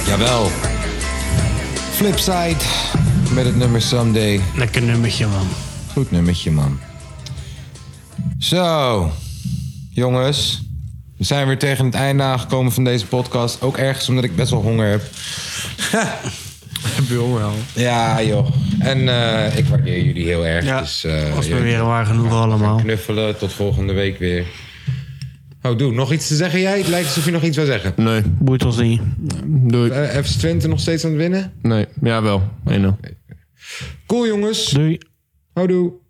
Jawel. Flipside met het nummer Someday. Lekker nummertje, man. Goed nummertje, man. Zo, jongens. We zijn weer tegen het einde aangekomen van deze podcast. Ook ergens omdat ik best wel honger heb. heb je honger al? Ja, joh. En eh, ik waardeer jullie heel erg. Ja, dus, eh, was me je- weer waar genoeg allemaal. Knuffelen, tot volgende week weer. Oh, doe. Nog iets te zeggen jij? Het lijkt alsof je nog iets wil zeggen. Nee. Boeit ons niet. Doei. FC Twente nog steeds aan het winnen? Nee, jawel. 1-0. Cool jongens. Doei. Houdoe.